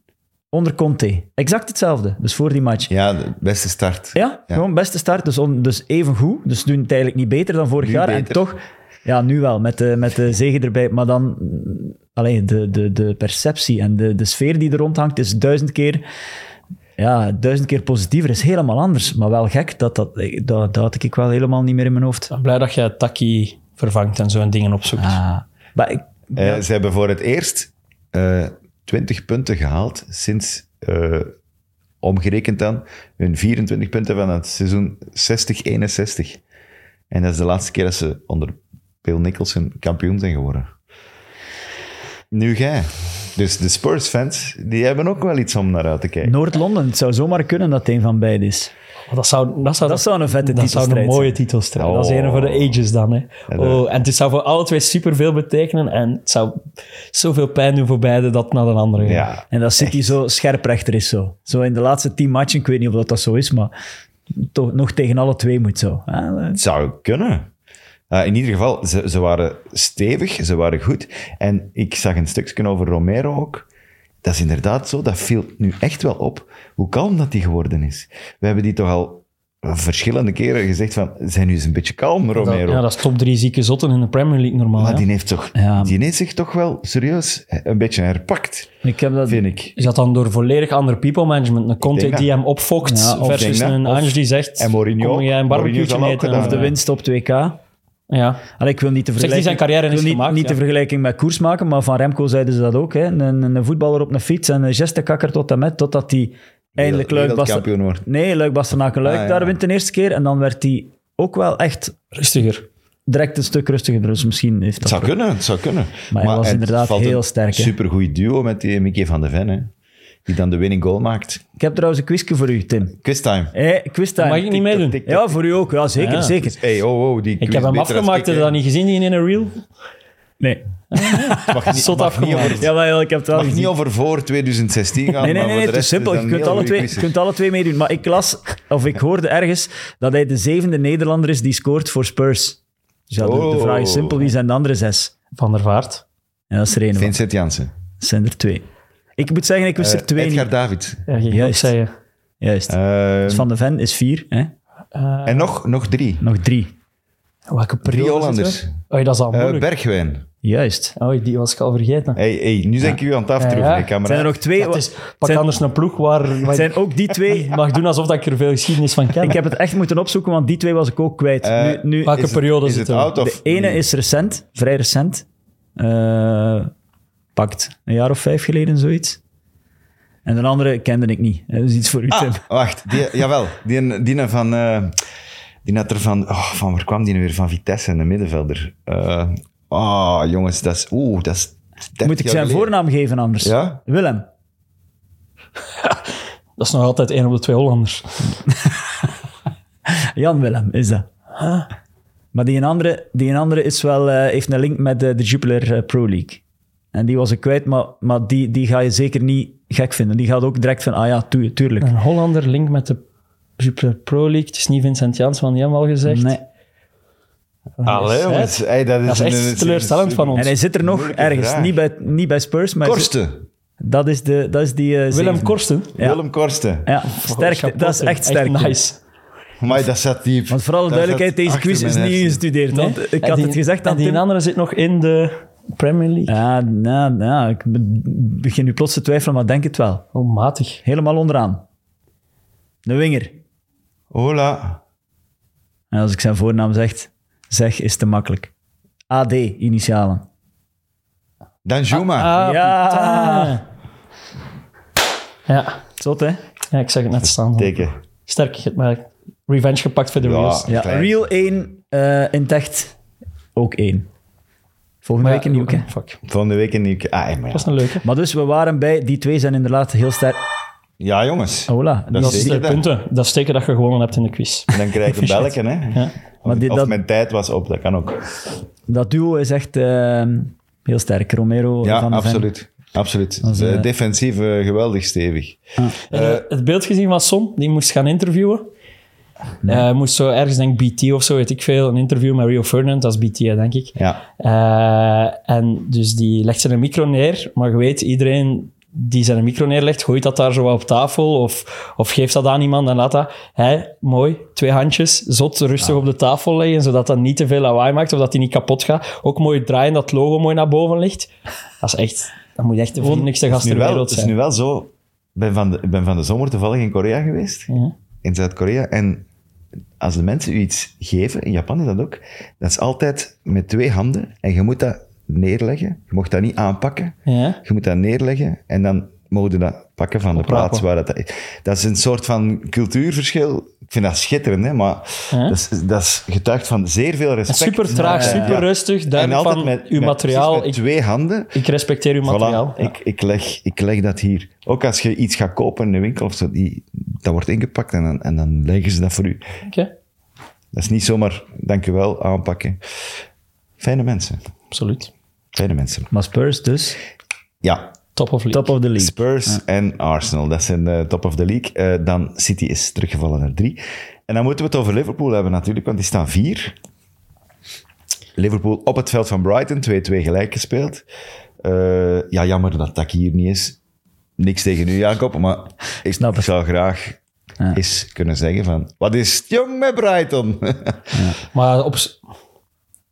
onder Conte. Exact hetzelfde, dus voor die match. Ja,
Ja, de beste start.
gewoon beste start, dus, on, dus even goed. Dus ze doen het eigenlijk niet beter dan vorig
Nu
jaar. En
beter.
toch, ja, nu wel, met de, met de zege erbij. Maar dan, mm, alleen de, de, de perceptie en de, de sfeer die er rondhangt is duizend keer ja, duizend keer positiever is helemaal anders. Maar wel gek, dat, dat, dat, dat had ik wel helemaal niet meer in mijn hoofd.
Ik ben blij dat je Taki vervangt en zo en dingen opzoekt.
Ah. Maar ik,
Eh, Ze hebben voor het eerst eh 20 punten gehaald sinds, eh, omgerekend dan, hun 24 punten van het seizoen 60-61. En dat is de laatste keer dat ze onder Bill Nicholson kampioen zijn geworden. Nu jij. Dus de Spurs-fans, die hebben ook wel iets om naar uit te kijken.
Noord-Londen, het zou zomaar kunnen dat het een van beide is.
Maar Dat zou, dat zou,
Dat zou een vette
dat zou een
titelstrijd
mooie
zijn.
titelstrijd. Dat is
Oh.
een voor de ages dan. Hè.
dat-
Oh, en het zou voor alle twee superveel betekenen. En het zou zoveel pijn doen voor beide dat naar de andere. gaat.
Ja,
En dat City zo scherprechter is zo. Zo in de laatste tien matchen, ik weet niet of dat, dat zo is, maar toch nog tegen alle twee moet zo. Ah, eh,
het zou kunnen. Eh, in ieder geval, ze, ze waren stevig, ze waren goed. En ik zag een stukje over Romero ook. dat is inderdaad zo, dat viel nu echt wel op hoe kalm dat die geworden is. We hebben die toch al verschillende keren gezegd van, zijn nu eens een beetje kalm, Romero.
Ja, dat is top drie zieke zotten in de Premier League normaal.
maar
hè?
die heeft, toch,
Ja.
die heeft zich toch wel serieus een beetje herpakt,
Ik heb dat...
vind ik.
Is dat dan door volledig ander people management? Een Conte
denk dat.
die hem opfokt
Ja, of
denk
versus
dat.
een
Of-
Ange die zegt...
en Mourinho
Kom
ook.
jij een
Mourinho zal
barbecue
ook
eten?
gedaan
Of de
De
hebben.
winst.
winst op 2K.
Ja.
Allee, ik wil niet de
Zeg, die
vergelijking,
zijn carrière
ik wil
is
niet,
gemaakt,
niet
ja.
de vergelijking met koers maken, maar van Remco zeiden ze dat ook. Hè. Een, een een voetballer op een fiets en een gestekakker tot en met, totdat hij eindelijk Luik Bastenaken...
kampioen wordt.
Nee, Luik Bastenaken Luik
Ah, ja.
daar wint de eerste keer. En dan werd hij ook wel echt
Rustiger.
direct een stuk rustiger. Dus misschien heeft
Het
dat...
zou kunnen, het zou kunnen.
hij was inderdaad heel sterk, hè.
Supergoed duo met die Mickey van de Ven, hè. die dan de winning goal maakt.
Ik heb trouwens een quizje voor u, Tim.
Quiztime.
Hé, quiz
Mag ik
time.
niet meedoen?
tik,
Ja, voor u ook. Ja, zeker,
Ja.
zeker.
Hey, oh, oh, die
Ik heb hem afgemaakt. Heb je dat niet gezien die in een reel?
Nee.
Mag, niet-
Zot
mag, niet
afgemaakt.
over,
Jawel, ik heb het wel
mag niet
gezien.
over voor 2016 gaan.
Nee, nee,
maar
nee,
voor de
het
rest
is simpel.
dat
Je
een
kunt,
heel
alle
goede
twee, je
quiz.
kunt alle twee meedoen. Maar ik las, of ik hoorde ergens, dat hij de zevende Nederlander is die scoort voor Spurs. Dus ja, de, de
Oh.
vraag is simpel, wie zijn de andere zes?
Van der Vaart.
En dat is er één van.
Vincent Jansen.
Het zijn er twee. Ik moet zeggen, ik wist er twee
Eh, Edgar
niet.
David.
Ja, je
Juist.
Zei je.
Juist.
Eh,
Dus Van de Ven is vier. Hè?
en nog, nog drie.
Nog drie.
Drie
Welke periode zitten we?
Hollanders.
Oei, Oh, dat is al
Eh,
moeilijk.
Bergwijn.
Juist.
Oei, die was ik al vergeten.
Hey, hey, nu zijn ik u aan het aftroeven,
Ja,
hè,
ja.
kameraad.
Zijn er nog twee?
Dat is, pak
zijn-
anders een ploeg waar... waar
Het zijn ook die twee.
ik mag doen alsof dat ik er veel geschiedenis van ken.
Ik heb het echt moeten opzoeken, want die twee was ik ook kwijt.
Eh,
nu, nu,
Welke
Is het-
periode
is het
zitten we?
oud of
De ene
nieuw?
is recent, vrij recent. Eh, pakt een jaar of vijf geleden, zoiets. En de andere kende ik niet. Dat is iets voor u, Tim.
Ah, wacht. Die, jawel. Die, die van... eh, die had er van... Oh, van waar kwam die nu weer? Van Vitesse, een middenvelder. Eh, Ah, jongens, dat is... Oeh, dat is... 30
Moet ik
jaar
zijn
geleden.
voornaam geven anders?
Ja?
Willem.
Dat is nog altijd één op de twee Hollanders.
Jan Willem is dat. Maar die een andere, die een andere is wel, eh, heeft een link met eh, de Jupiler eh, Pro League. En die was ik kwijt, maar, maar die, die ga je zeker niet gek vinden. Die gaat ook direct van, ah ja, tu- tuurlijk.
Een Hollander, link met de Jupiler Pro League. Het is niet Vincent Jans, want die hebben we al gezegd.
Nee. Ah,
Allee, jongens. Hey, dat, is
Dat is echt
een- een-
teleurstellend van ons.
En hij zit er nog
Moeilijke
ergens.
vraag.
Niet bij, niet bij Spurs, maar hij zit-
Korsten.
dat is, de, dat is die... eh,
Willem
zevende.
Korsten.
Ja.
Willem Korsten.
Ja, sterk.
Chapeau,
Dat is echt sterk.
nice.
Maar dat zat diep.
Want voor alle
Dat
duidelijkheid,
zat
deze
achter
quiz is
mijn
niet
hersenen.
ingestudeerd. Want
Nee.
ik
En
had
die-
het gezegd aan
en die
Tim.
andere zit nog in de Premier League.
Ja, nou, nou, ik be- begin nu plots te twijfelen, maar denk het wel.
Oh, matig.
Helemaal onderaan. De winger.
Hola.
En als ik zijn voornaam zeg, zeg is te makkelijk. AD, initialen.
Danjuma.
Ah, ja.
Ja.
Zot, hè?
ja, ik zeg het net staan.
Teken.
Sterk, je hebt maar revenge gepakt voor de
Ja.
Reels.
Ja,
Klein.
Real 1, eh in Techt ook 1. Volgende week een nieuw, hè?
Fuck. Dat
Volgende week in Nieuwke. Ah, maar
was
ja.
een leuke.
Maar dus, we waren bij... Die twee zijn inderdaad heel sterk...
ja, jongens.
Hola.
Dat
die-
is
Dat is
Zeker
de
dan.
punten. Dat is zeker dat je gewonnen hebt in de quiz.
En dan krijg je belken, hè.
Ja.
Maar
Of,
die-
of
dat-
mijn tijd was op, dat kan ook.
Dat duo is echt ehm, heel sterk. Romero
Ja,
van de Ven.
absoluut. Absoluut.
eh,
Eh, Defensief eh, geweldig stevig.
En, eh, het beeld gezien van Son, die moest gaan interviewen. Eh, moest zo ergens, denk ik, BT of zo, weet ik veel, een interview met Rio Ferdinand, dat is BT, hè, denk ik.
Ja.
Eh, en dus die legt zijn micro neer, maar je weet, iedereen die zijn micro neerlegt, gooit dat daar zo wat op tafel of, of geeft dat aan iemand en laat dat. Hij, mooi, twee handjes, zot, rustig op de tafel leggen, zodat dat niet te veel lawaai maakt of dat hij niet kapot gaat. Ook mooi draaien, dat het logo mooi naar boven ligt. Dat is echt, dat moet echt de vriendelijkste
Het is,
gast
nu
ter
wel,
wereld
het is
zijn.
nu wel zo. Ik ben van de, ik ben van de zomer toevallig in Korea geweest.
Ja.
In Zuid-Korea. En als de mensen u iets geven, in Japan is dat ook, dat is altijd met twee handen. En je moet dat neerleggen. Je mocht dat niet aanpakken.
Ja.
Je moet dat neerleggen en dan mogen we dat pakken van de
Oprapen.
plaats waar dat is. Dat is een soort van cultuurverschil. Ik vind dat schitterend, hè, maar
Ja.
dat, is, dat is getuigd van zeer veel respect.
Super traag,
Ja.
super
Ja.
rustig,
En
duidelijk
altijd
van
met,
uw
met-
materiaal.
precies met
ik,
twee handen.
ik respecteer uw
Voilà,
materiaal.
ik, ik, leg, ik leg dat hier. Ook als je iets gaat kopen in de winkel of zo, die, dat wordt ingepakt en dan, en dan leggen ze dat voor u.
Oké,
Dat is niet zomaar, dankjewel, aanpakken. Fijne mensen.
absoluut.
Fijne mensen.
Maar Spurs dus,
Ja,
Top of league.
top of the league.
Spurs en Arsenal, dat zijn de top of the league. Eh, dan City is teruggevallen naar drie. En dan moeten we het over Liverpool hebben natuurlijk, want die staan vier. Liverpool op het veld van Brighton, 2-2 gelijk gespeeld. Eh, ja, jammer dat Taki hier niet is. niks tegen u, Jacob, maar ik,
Snap het.
zou graag
Ja.
eens kunnen zeggen van, wat is het jong met Brighton? Eh,
Maar op... s-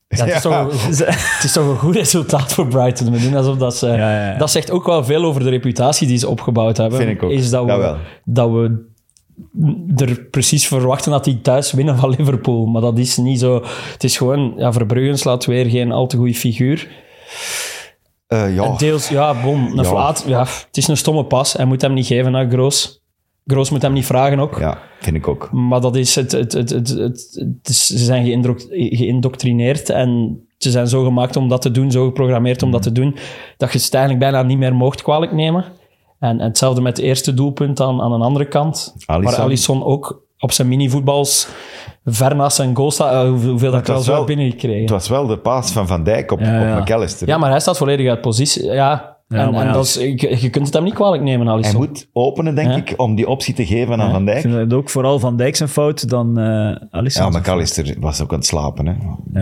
Ja, het, is
Ja.
Toch een, het is toch een goed resultaat voor Brighton. We doen alsof dat ze...
ja, ja.
Dat zegt ook wel veel over de reputatie die ze opgebouwd hebben.
Vind ik ook.
Is dat we,
Dat wel.
dat we er precies verwachten dat die thuis winnen van Liverpool. Maar dat is niet zo... Het is gewoon... Ja, Verbruggen slaat weer geen al te goede figuur.
Eh, ja,
En deels, ja, bon, een
Ja.
Vlaat, ja, het is een stomme pas. Hij moet hem niet geven naar Groos. Groos moet hem niet vragen ook.
ja, vind ik ook.
Maar dat is het, het, het, het, het- het is- ze zijn geïndro- geïndoctrineerd en ze zijn zo gemaakt om dat te doen, zo geprogrammeerd om dat te doen, dat je het eigenlijk bijna niet meer mocht kwalijk nemen. En, en hetzelfde met het eerste doelpunt aan, aan een andere kant,
Alisson.
waar Alisson ook op zijn minivoetbals ver naast zijn goal staat, eh, hoeveel, hoeveel dat ik
was
wel zo
wel-
binnen gekregen.
Het was wel de paas van Van Dijk op,
Ja, ja.
op McAllister.
Ja, maar hij staat volledig uit positie. Ja, en,
maar
en
ja.
dat is, je, je kunt het hem niet kwalijk nemen,
Hij
Alisson.
moet openen, denk
Ja.
ik, om die optie te geven aan
Ja,
Van
Ik
Dijk.
vind het ook vooral Van Dijk zijn fout dan eh
Ja,
Alisson.
McAllister was ook aan het slapen. Hè.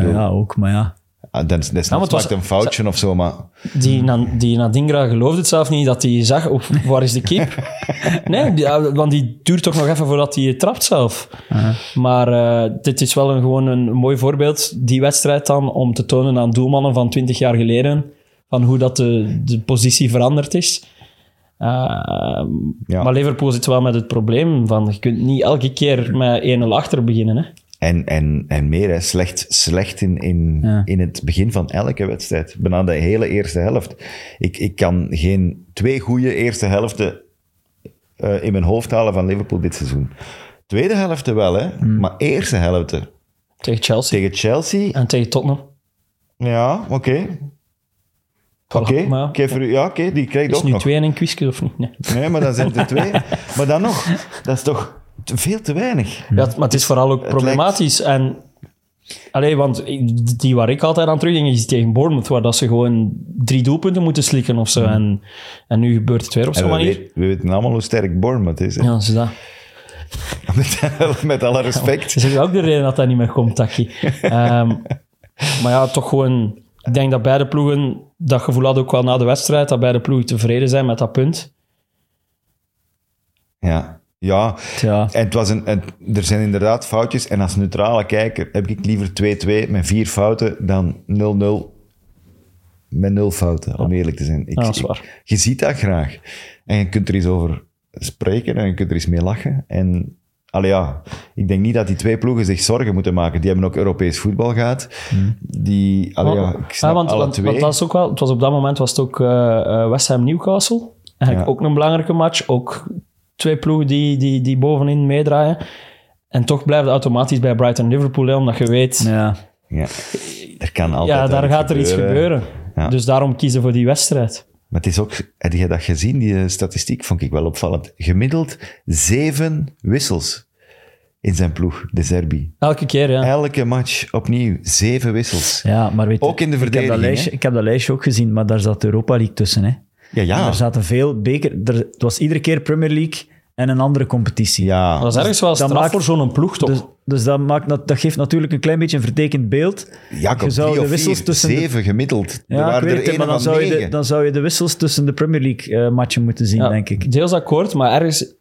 Ja, ja, ook, maar ja.
Ah, Dat is
maar Nou, het was-
maakt een foutje of zo, maar... Hm.
Die, Na- die Nadingra geloofde het zelf niet dat hij zag, op, waar is de keep? nee, die- ja, want die duurt toch nog even voordat hij het trapt zelf. Maar eh, dit is wel een, gewoon een mooi voorbeeld, die wedstrijd dan, om te tonen aan doelmannen van 20 jaar geleden, van hoe dat de, de positie veranderd is. Eh,
Ja.
Maar Liverpool zit wel met het probleem van, je kunt niet elke keer met 1-0 achter beginnen. Hè?
En, en, en meer, hè. slecht, slecht in, in,
Ja.
in het begin van elke wedstrijd. Bijna de hele eerste helft. Ik, ik kan geen twee goede eerste helften eh, in mijn hoofd halen van Liverpool dit seizoen. Tweede helften wel, hè?
Mm.
maar eerste helften.
Tegen Chelsea
Tegen Chelsea,
en tegen Tottenham.
ja, oké. Oké,
Voilà, maar ja,
Oké, voor u- ja, oké, die krijgt
is
ook
nu
nog.
2 en een quizje of niet? Nee.
Nee, maar dan zijn het er twee. maar dan nog, dat is toch te- veel te weinig.
Ja, het- maar het is vooral ook problematisch. En, allee, want ik- die waar ik altijd aan terugging is tegen Bournemouth, waar dat ze gewoon drie doelpunten moeten slikken of zo. En, en nu gebeurt het weer op
En
zo'n
Mm. we,
manier.
weet- we weten allemaal hoe sterk Bournemouth is. hè.
Ja, dat is dat.
Met, met alle respect.
Dat is ook de reden dat dat niet meer komt, Taki. Ehm, maar ja, toch gewoon... Ik denk dat beide ploegen dat gevoel hadden ook wel na de wedstrijd, dat beide ploegen tevreden zijn met dat punt.
Ja. Ja,
Tja.
en het was een, en er zijn inderdaad foutjes. En als neutrale kijker heb ik liever 2-2 met vier fouten dan 0-0 met nul fouten, om eerlijk te zijn. Ik,
Ja, dat is
ik-
waar.
je ziet dat graag. En je kunt er eens over spreken en je kunt er eens mee lachen. En allee, ja, ik denk niet dat die twee ploegen zich zorgen moeten maken. Die hebben ook Europees voetbal gehad. Die, allee, ja, ik snap
Mm. Ja, want,
alle
want,
twee.
want dat is ook wel, het was op dat moment was het ook eh, eh, West Ham Newcastle. Eigenlijk
Ja.
ook een belangrijke match. Ook twee ploegen die, die, die bovenin meedraaien. En toch blijft het automatisch bij Brighton Liverpool, hè, omdat je weet, ja,
Ja.
ja, er kan altijd
daar
iets
gaat er iets gebeuren.
Ja.
Dus daarom kiezen voor die wedstrijd.
Maar het is ook, heb je dat gezien, die eh, statistiek vond ik wel opvallend. Gemiddeld zeven wissels in zijn ploeg, de Serbi.
Elke keer, ja.
Elke match opnieuw zeven wissels.
ja, maar weet je,
Ook in de
ik heb, dat
verdediging,
lijstje,
hè?
ik heb dat lijstje ook gezien, maar daar zat Europa League tussen. Hè.
Ja,
En
ja.
Er zaten veel beker... Er, het was iedere keer Premier League en een andere competitie. Dus
ja.
Dat is ergens wel
dat
straf
maakt-
voor zo'n ploeg, toch?
Dus, dus dat, maakt, dat, dat geeft natuurlijk een klein beetje een vertekend beeld.
Jacob,
je zou
drie
de
of
wissels
vier,
tussen de-
zeven gemiddeld. er
Ja, ik
waren
weet
er
het,
één
maar dan
van
zou, je de,
negen.
dan zou je de wissels tussen de Premier League eh, matchen moeten zien,
Ja,
denk ik.
Deels akkoord, maar ergens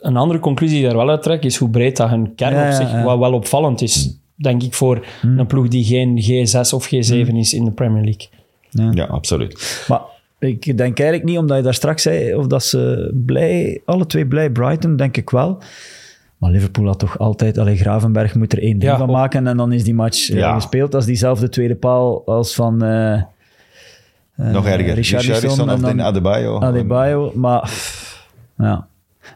een andere conclusie die daar wel uit trek is hoe breed dat hun kern
Ja,
op
ja,
zich
ja.
Wat wel opvallend is, denk ik, voor een ploeg die geen G6 of G7 is in de Premier League.
Ja, absoluut.
Maar ik denk eigenlijk niet, omdat je daar straks zei, of dat ze blij, alle twee blij, Brighton, denk ik wel. Maar Liverpool had toch altijd, allee, Gravenberg moet er één ding
Ja,
van
op-
maken en dan is die match eh,
Ja.
gespeeld. Dat is diezelfde tweede paal als van... eh,
Nog
eh,
erger.
Richarlison
Richarlison
en
of
dan
in Adebayo.
Adebayo, maar... pff, ja.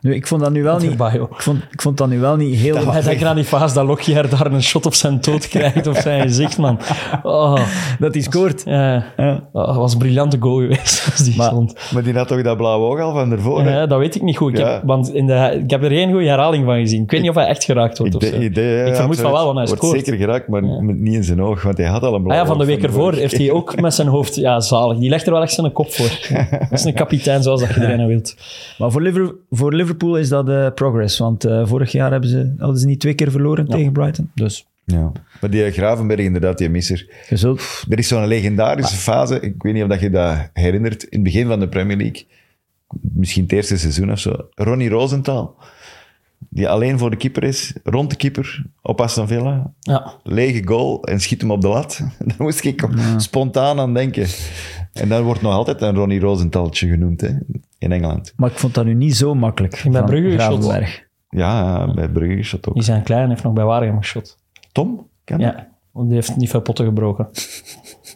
Nu, ik vond dat nu wel niet...
Adebayo.
Ik vond, ik vond dat nu wel niet heel...
Hij denkt aan die fase dat Lockyer daar een shot op zijn dood krijgt of zijn gezicht, man. Oh,
dat hij scoort.
ja.
Ja.
Oh, dat was een briljante goal geweest. als die
Maar-
stond.
Maar die had toch dat blauwe oog al van ervoor? hè?
Ja, dat weet ik niet goed. Ik,
Ja.
heb, want in de, ik heb er geen goede herhaling van gezien. Ik weet niet of hij echt geraakt wordt.
Ik,
of zo.
de- de- ja,
ik vermoed van
absoluut.
wel, want hij
Wordt
scoort.
zeker geraakt, maar niet in zijn oog, want hij had al een blauwe
Ah ja, van de
oog
week ervoor
vorige
heeft hij ook met zijn hoofd... Ja, zalig. Die legt er wel echt zijn kop voor. Dat is een kapitein zoals dat iedereen wilt.
Maar voor, Liver- voor Liverpool is dat eh, progress. Want eh, vorig jaar hebben ze, hadden ze niet twee keer verloren tegen Brighton. Dus
Ja. Maar die Gravenberg, inderdaad, die misser.
je zult...
Er is zo'n legendarische fase, ik weet niet of dat je dat herinnert, in het begin van de Premier League, misschien het eerste seizoen of zo. Ronnie Rosenthal, die alleen voor de keeper is, rond de keeper op Aston Villa.
Ja.
Lege goal en schiet hem op de lat. Daar moest ik op- spontaan aan denken. En dan wordt nog altijd een Ronnie Rosenthaltje genoemd hè, in Engeland.
Maar ik vond dat nu niet zo makkelijk.
ben
van
Brugge geschot.
Gravenberg.
Ja, bij Brugge is dat ook.
Die zijn klein, heeft nog bij Waregem geschot.
Tom? Kan dat?
Ja. Want die heeft niet veel potten gebroken.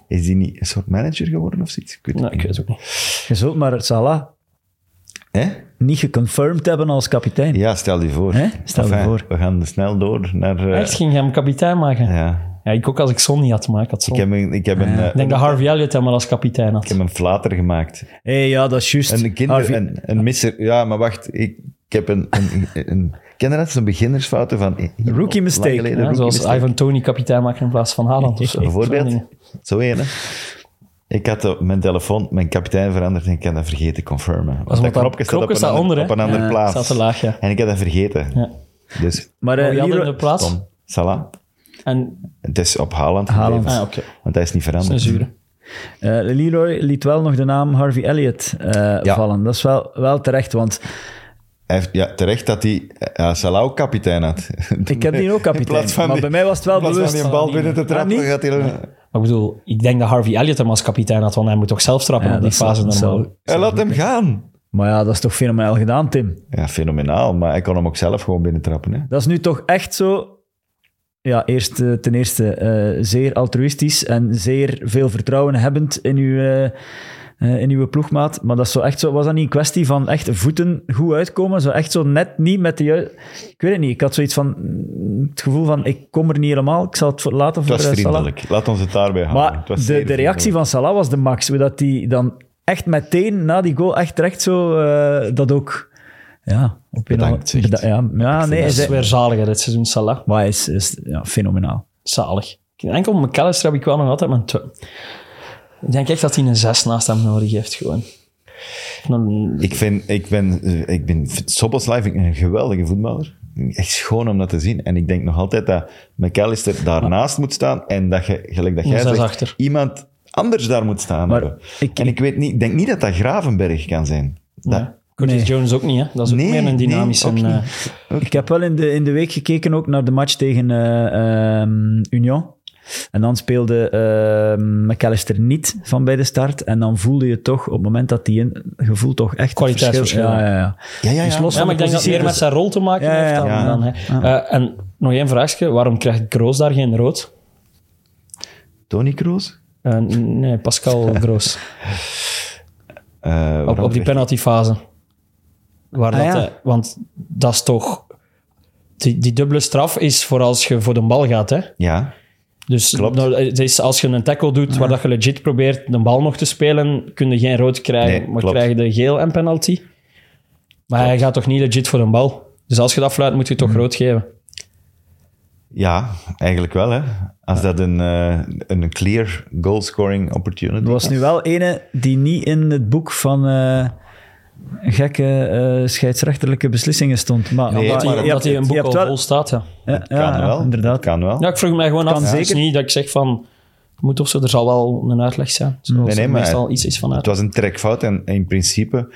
Is die niet een soort manager geworden of zoiets? Ik weet het
Nou, ik
niet.
weet het ook niet.
Je zult maar Salah
Hè?
niet geconfirmed hebben als kapitein.
Ja, stel je voor.
Hè? Stel je voor.
We gaan snel door naar... eh,
Echt ging je hem kapitein maken? Ja.
ja.
ik ook als ik Son niet had, maar ik had Son.
Ik heb een, ik heb een, eh,
Ik denk dat Harvey Elliott hem wel als kapitein had.
ik heb een flater gemaakt.
hey, ja, dat is juist.
Een, kinder,
Harvey-
een, een misser. Ja, maar wacht. Ik, ik heb een... een, een, een ken je dat? Zo'n beginnersfouten van...
Rookie
lang
mistake,
geleden,
Ja,
rookie
zoals
mistake.
Ivan Tony kapitein maken in plaats van Haaland of zo. Zo'n
Bijvoorbeeld.
dingen.
Zo één, hè. Ik had op mijn telefoon mijn kapitein veranderd en ik had dat vergeten confirmen. Want
omdat
dat
dat
knopje staat op
knopje
een,
staat onder,
ander,
hè?
op een andere
Ja,
plaats.
staat te laag, ja.
En ik had dat vergeten.
Ja.
Dus,
Maar eh,
Wie had in
Leroy-
de plaats?
Tom, Salah.
En,
Het is op Haaland
Haaland.
gebleven.
ah, oké.
Want hij is niet
Dat is
veranderd.
een zure.
Eh, Leroy liet wel nog de naam Harvey Elliott eh, vallen. Dat is wel, wel terecht, want eh,
Hij heeft, ja, terecht dat hij ja, Salah ook kapitein had.
ik heb die ook
In plaats
kapitein.
van
Maar
die-
bij mij was het wel
in plaats van
bewust.
die een bal binnen te trappen,
niet?
gaat hij...
Maar ik bedoel, ik denk dat Harvey Elliott hem als kapitein had, want hij moet toch zelf trappen
Ja,
op die
dat zou-
fase
dat
normaal.
zou-
Hij laat hem gaan.
Maar ja, dat is toch fenomenaal gedaan, Tim.
Ja, fenomenaal. Maar hij kon hem ook zelf gewoon binnentrappen. Hè?
Dat is nu toch echt zo... Ja, eerst, eh, ten eerste eh, zeer altruïstisch en zeer veel vertrouwen hebbend in uw, eh, eh, in uw ploegmaat. Maar dat is zo echt zo, was dat niet een kwestie van echt voeten goed uitkomen? Zo echt zo net niet met de juiste... Ik weet het niet. Ik had zoiets van... mm, Het gevoel van, ik kom er niet helemaal. Ik zal het voor- laten
Het
voor
was
eh, Salah.
vriendelijk. Laat ons het daarbij houden.
Maar
Het was
de,
zeer
de reactie
vriendelijk.
van Salah was de max. Hoe dat hij dan echt meteen na die goal echt recht zo eh, dat ook... Ja, op een
Bedankt,
of-
zegt.
ja, ja nee,
dat is
hij-
weer zaliger dit seizoen, Salah.
maar hij is, is ja, fenomenaal.
Zalig. Enkel McAllister heb ik wel nog altijd mijn twe- Ik denk echt dat hij een 6 naast hem nodig heeft, gewoon. Dan-
Ik, vind, ik ben, eh, ik ben Soboslai vind ik een geweldige voetballer. Echt schoon om dat te zien. En ik denk nog altijd dat McAllister daarnaast moet staan en dat je, gelijk dat jij
Een zes
zegt,
achter.
iemand anders daar moet staan.
Maar
hebben.
ik-
en ik weet niet, denk niet dat dat Gravenberg kan zijn. Dat,
Curtis
Nee.
Jones ook niet, hè. Dat is ook
Nee,
meer een dynamische...
nee, ook
eh,
Ik heb wel in de, in de week gekeken ook naar de match tegen eh, ehm, Union. En dan speelde ehm, McAllister niet van bij de start. En dan voelde je toch, op het moment dat hij in, gevoel toch echt het
Kwaliteitsverschil.
verschil- Ja, ja, ja.
Ja, ja, ja.
Dus los
Ja, maar ik
van de
denk dat het
positie
meer met
tussen-
zijn rol te maken
Ja, ja,
heeft dan...
ja.
dan, hè. Eh, en nog één vraagje. Waarom krijgt Kroos daar geen rood?
Tony Kroos?
Eh, nee, Pascal Groos.
Eh,
op,
waarom
op die
werd-
penaltyfase. Waar
Ah,
dat,
ja.
eh, want dat is toch... Die, die dubbele straf is voor als je voor de bal gaat, hè.
Ja,
Dus
Klopt.
nou, het is als je een tackle doet waar dat je legit probeert de bal nog te spelen, kun je geen rood krijgen,
Nee,
maar
klopt.
krijg je de geel en penalty. Maar hij gaat toch niet legit voor een bal. Dus als je dat fluit, moet je
Hm.
toch rood geven.
ja, eigenlijk wel. Hè. Als dat een, eh, een clear goal-scoring opportunity
Er was nu wel ene die niet in het boek van eh, gekke eh, scheidsrechterlijke beslissingen stond.
Nee,
Maar, maar
Omdat
maar
hij,
je
omdat
hebt-
hij een boek
je
al
hebt
vol staat. Ja.
Ja,
kan
ja, ja,
wel.
inderdaad.
Kan wel.
ja, ik vroeg mij gewoon af.
Kan
Het is
zeker.
niet dat ik zeg van, het moet of zo, er zal wel een uitleg zijn. Zoals
Nee, nee,
er
maar-
meestal iets is vanuit.
Het was een trekfout en in principe,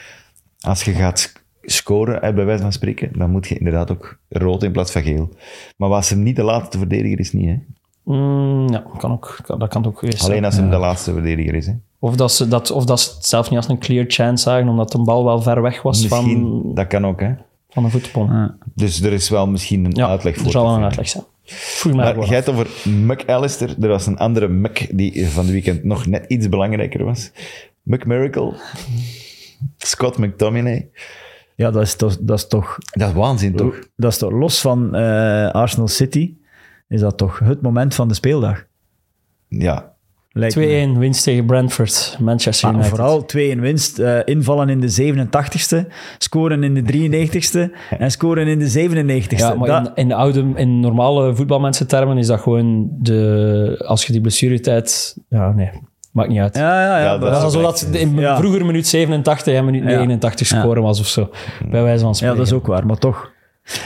als je gaat sc- scoren, eh, bij wijze van spreken, dan moet je inderdaad ook rood in plaats van geel. Maar was hem niet de laatste verdediger is, niet. Hè?
Mm, ja, kan ook, kan- dat kan ook geweest zijn.
Alleen als hem de laatste verdediger is. Hè?
Of dat, ze, dat, of dat ze het zelf niet als een clear chance zagen, omdat de bal wel ver weg was
Misschien,
van,
dat kan ook. Hè?
van een voetbal.
Dus er is wel misschien een
Ja,
uitleg voor.
Er zal
te
wel een
vinden.
uitleg zijn. Vroeg mij
Maar
gewoon
jij hebt over McAllister. Er was een andere Mc die van het weekend nog net iets belangrijker was. McMiracle. Scott McTominay.
Ja, dat is toch, dat is toch,
Dat is waanzin, toch?
dat is toch los van eh, Arsenal City, is dat toch het moment van de speeldag.
Ja.
Lijkt me.
af. 2-1 winst tegen Brentford, Manchester
Ah,
United.
vooral 2 in winst. eh, invallen in de 87ste, scoren in de 93ste en scoren in de 97ste.
Ja, maar
Dat-
in, in, de oude, in normale voetbalmensentermen is dat gewoon de... Als je die blessuretijd... Ja, nee. Maakt niet uit.
ja, ja, ja,
Ja,
maar-
Dat is
is
zo
wel
dat ze in
Ja.
vroeger minuut 87 en minuut
Ja.
89
Ja.
scoren was of zo. Bij wijze van
Ja,
spreken.
dat is ook waar, maar toch.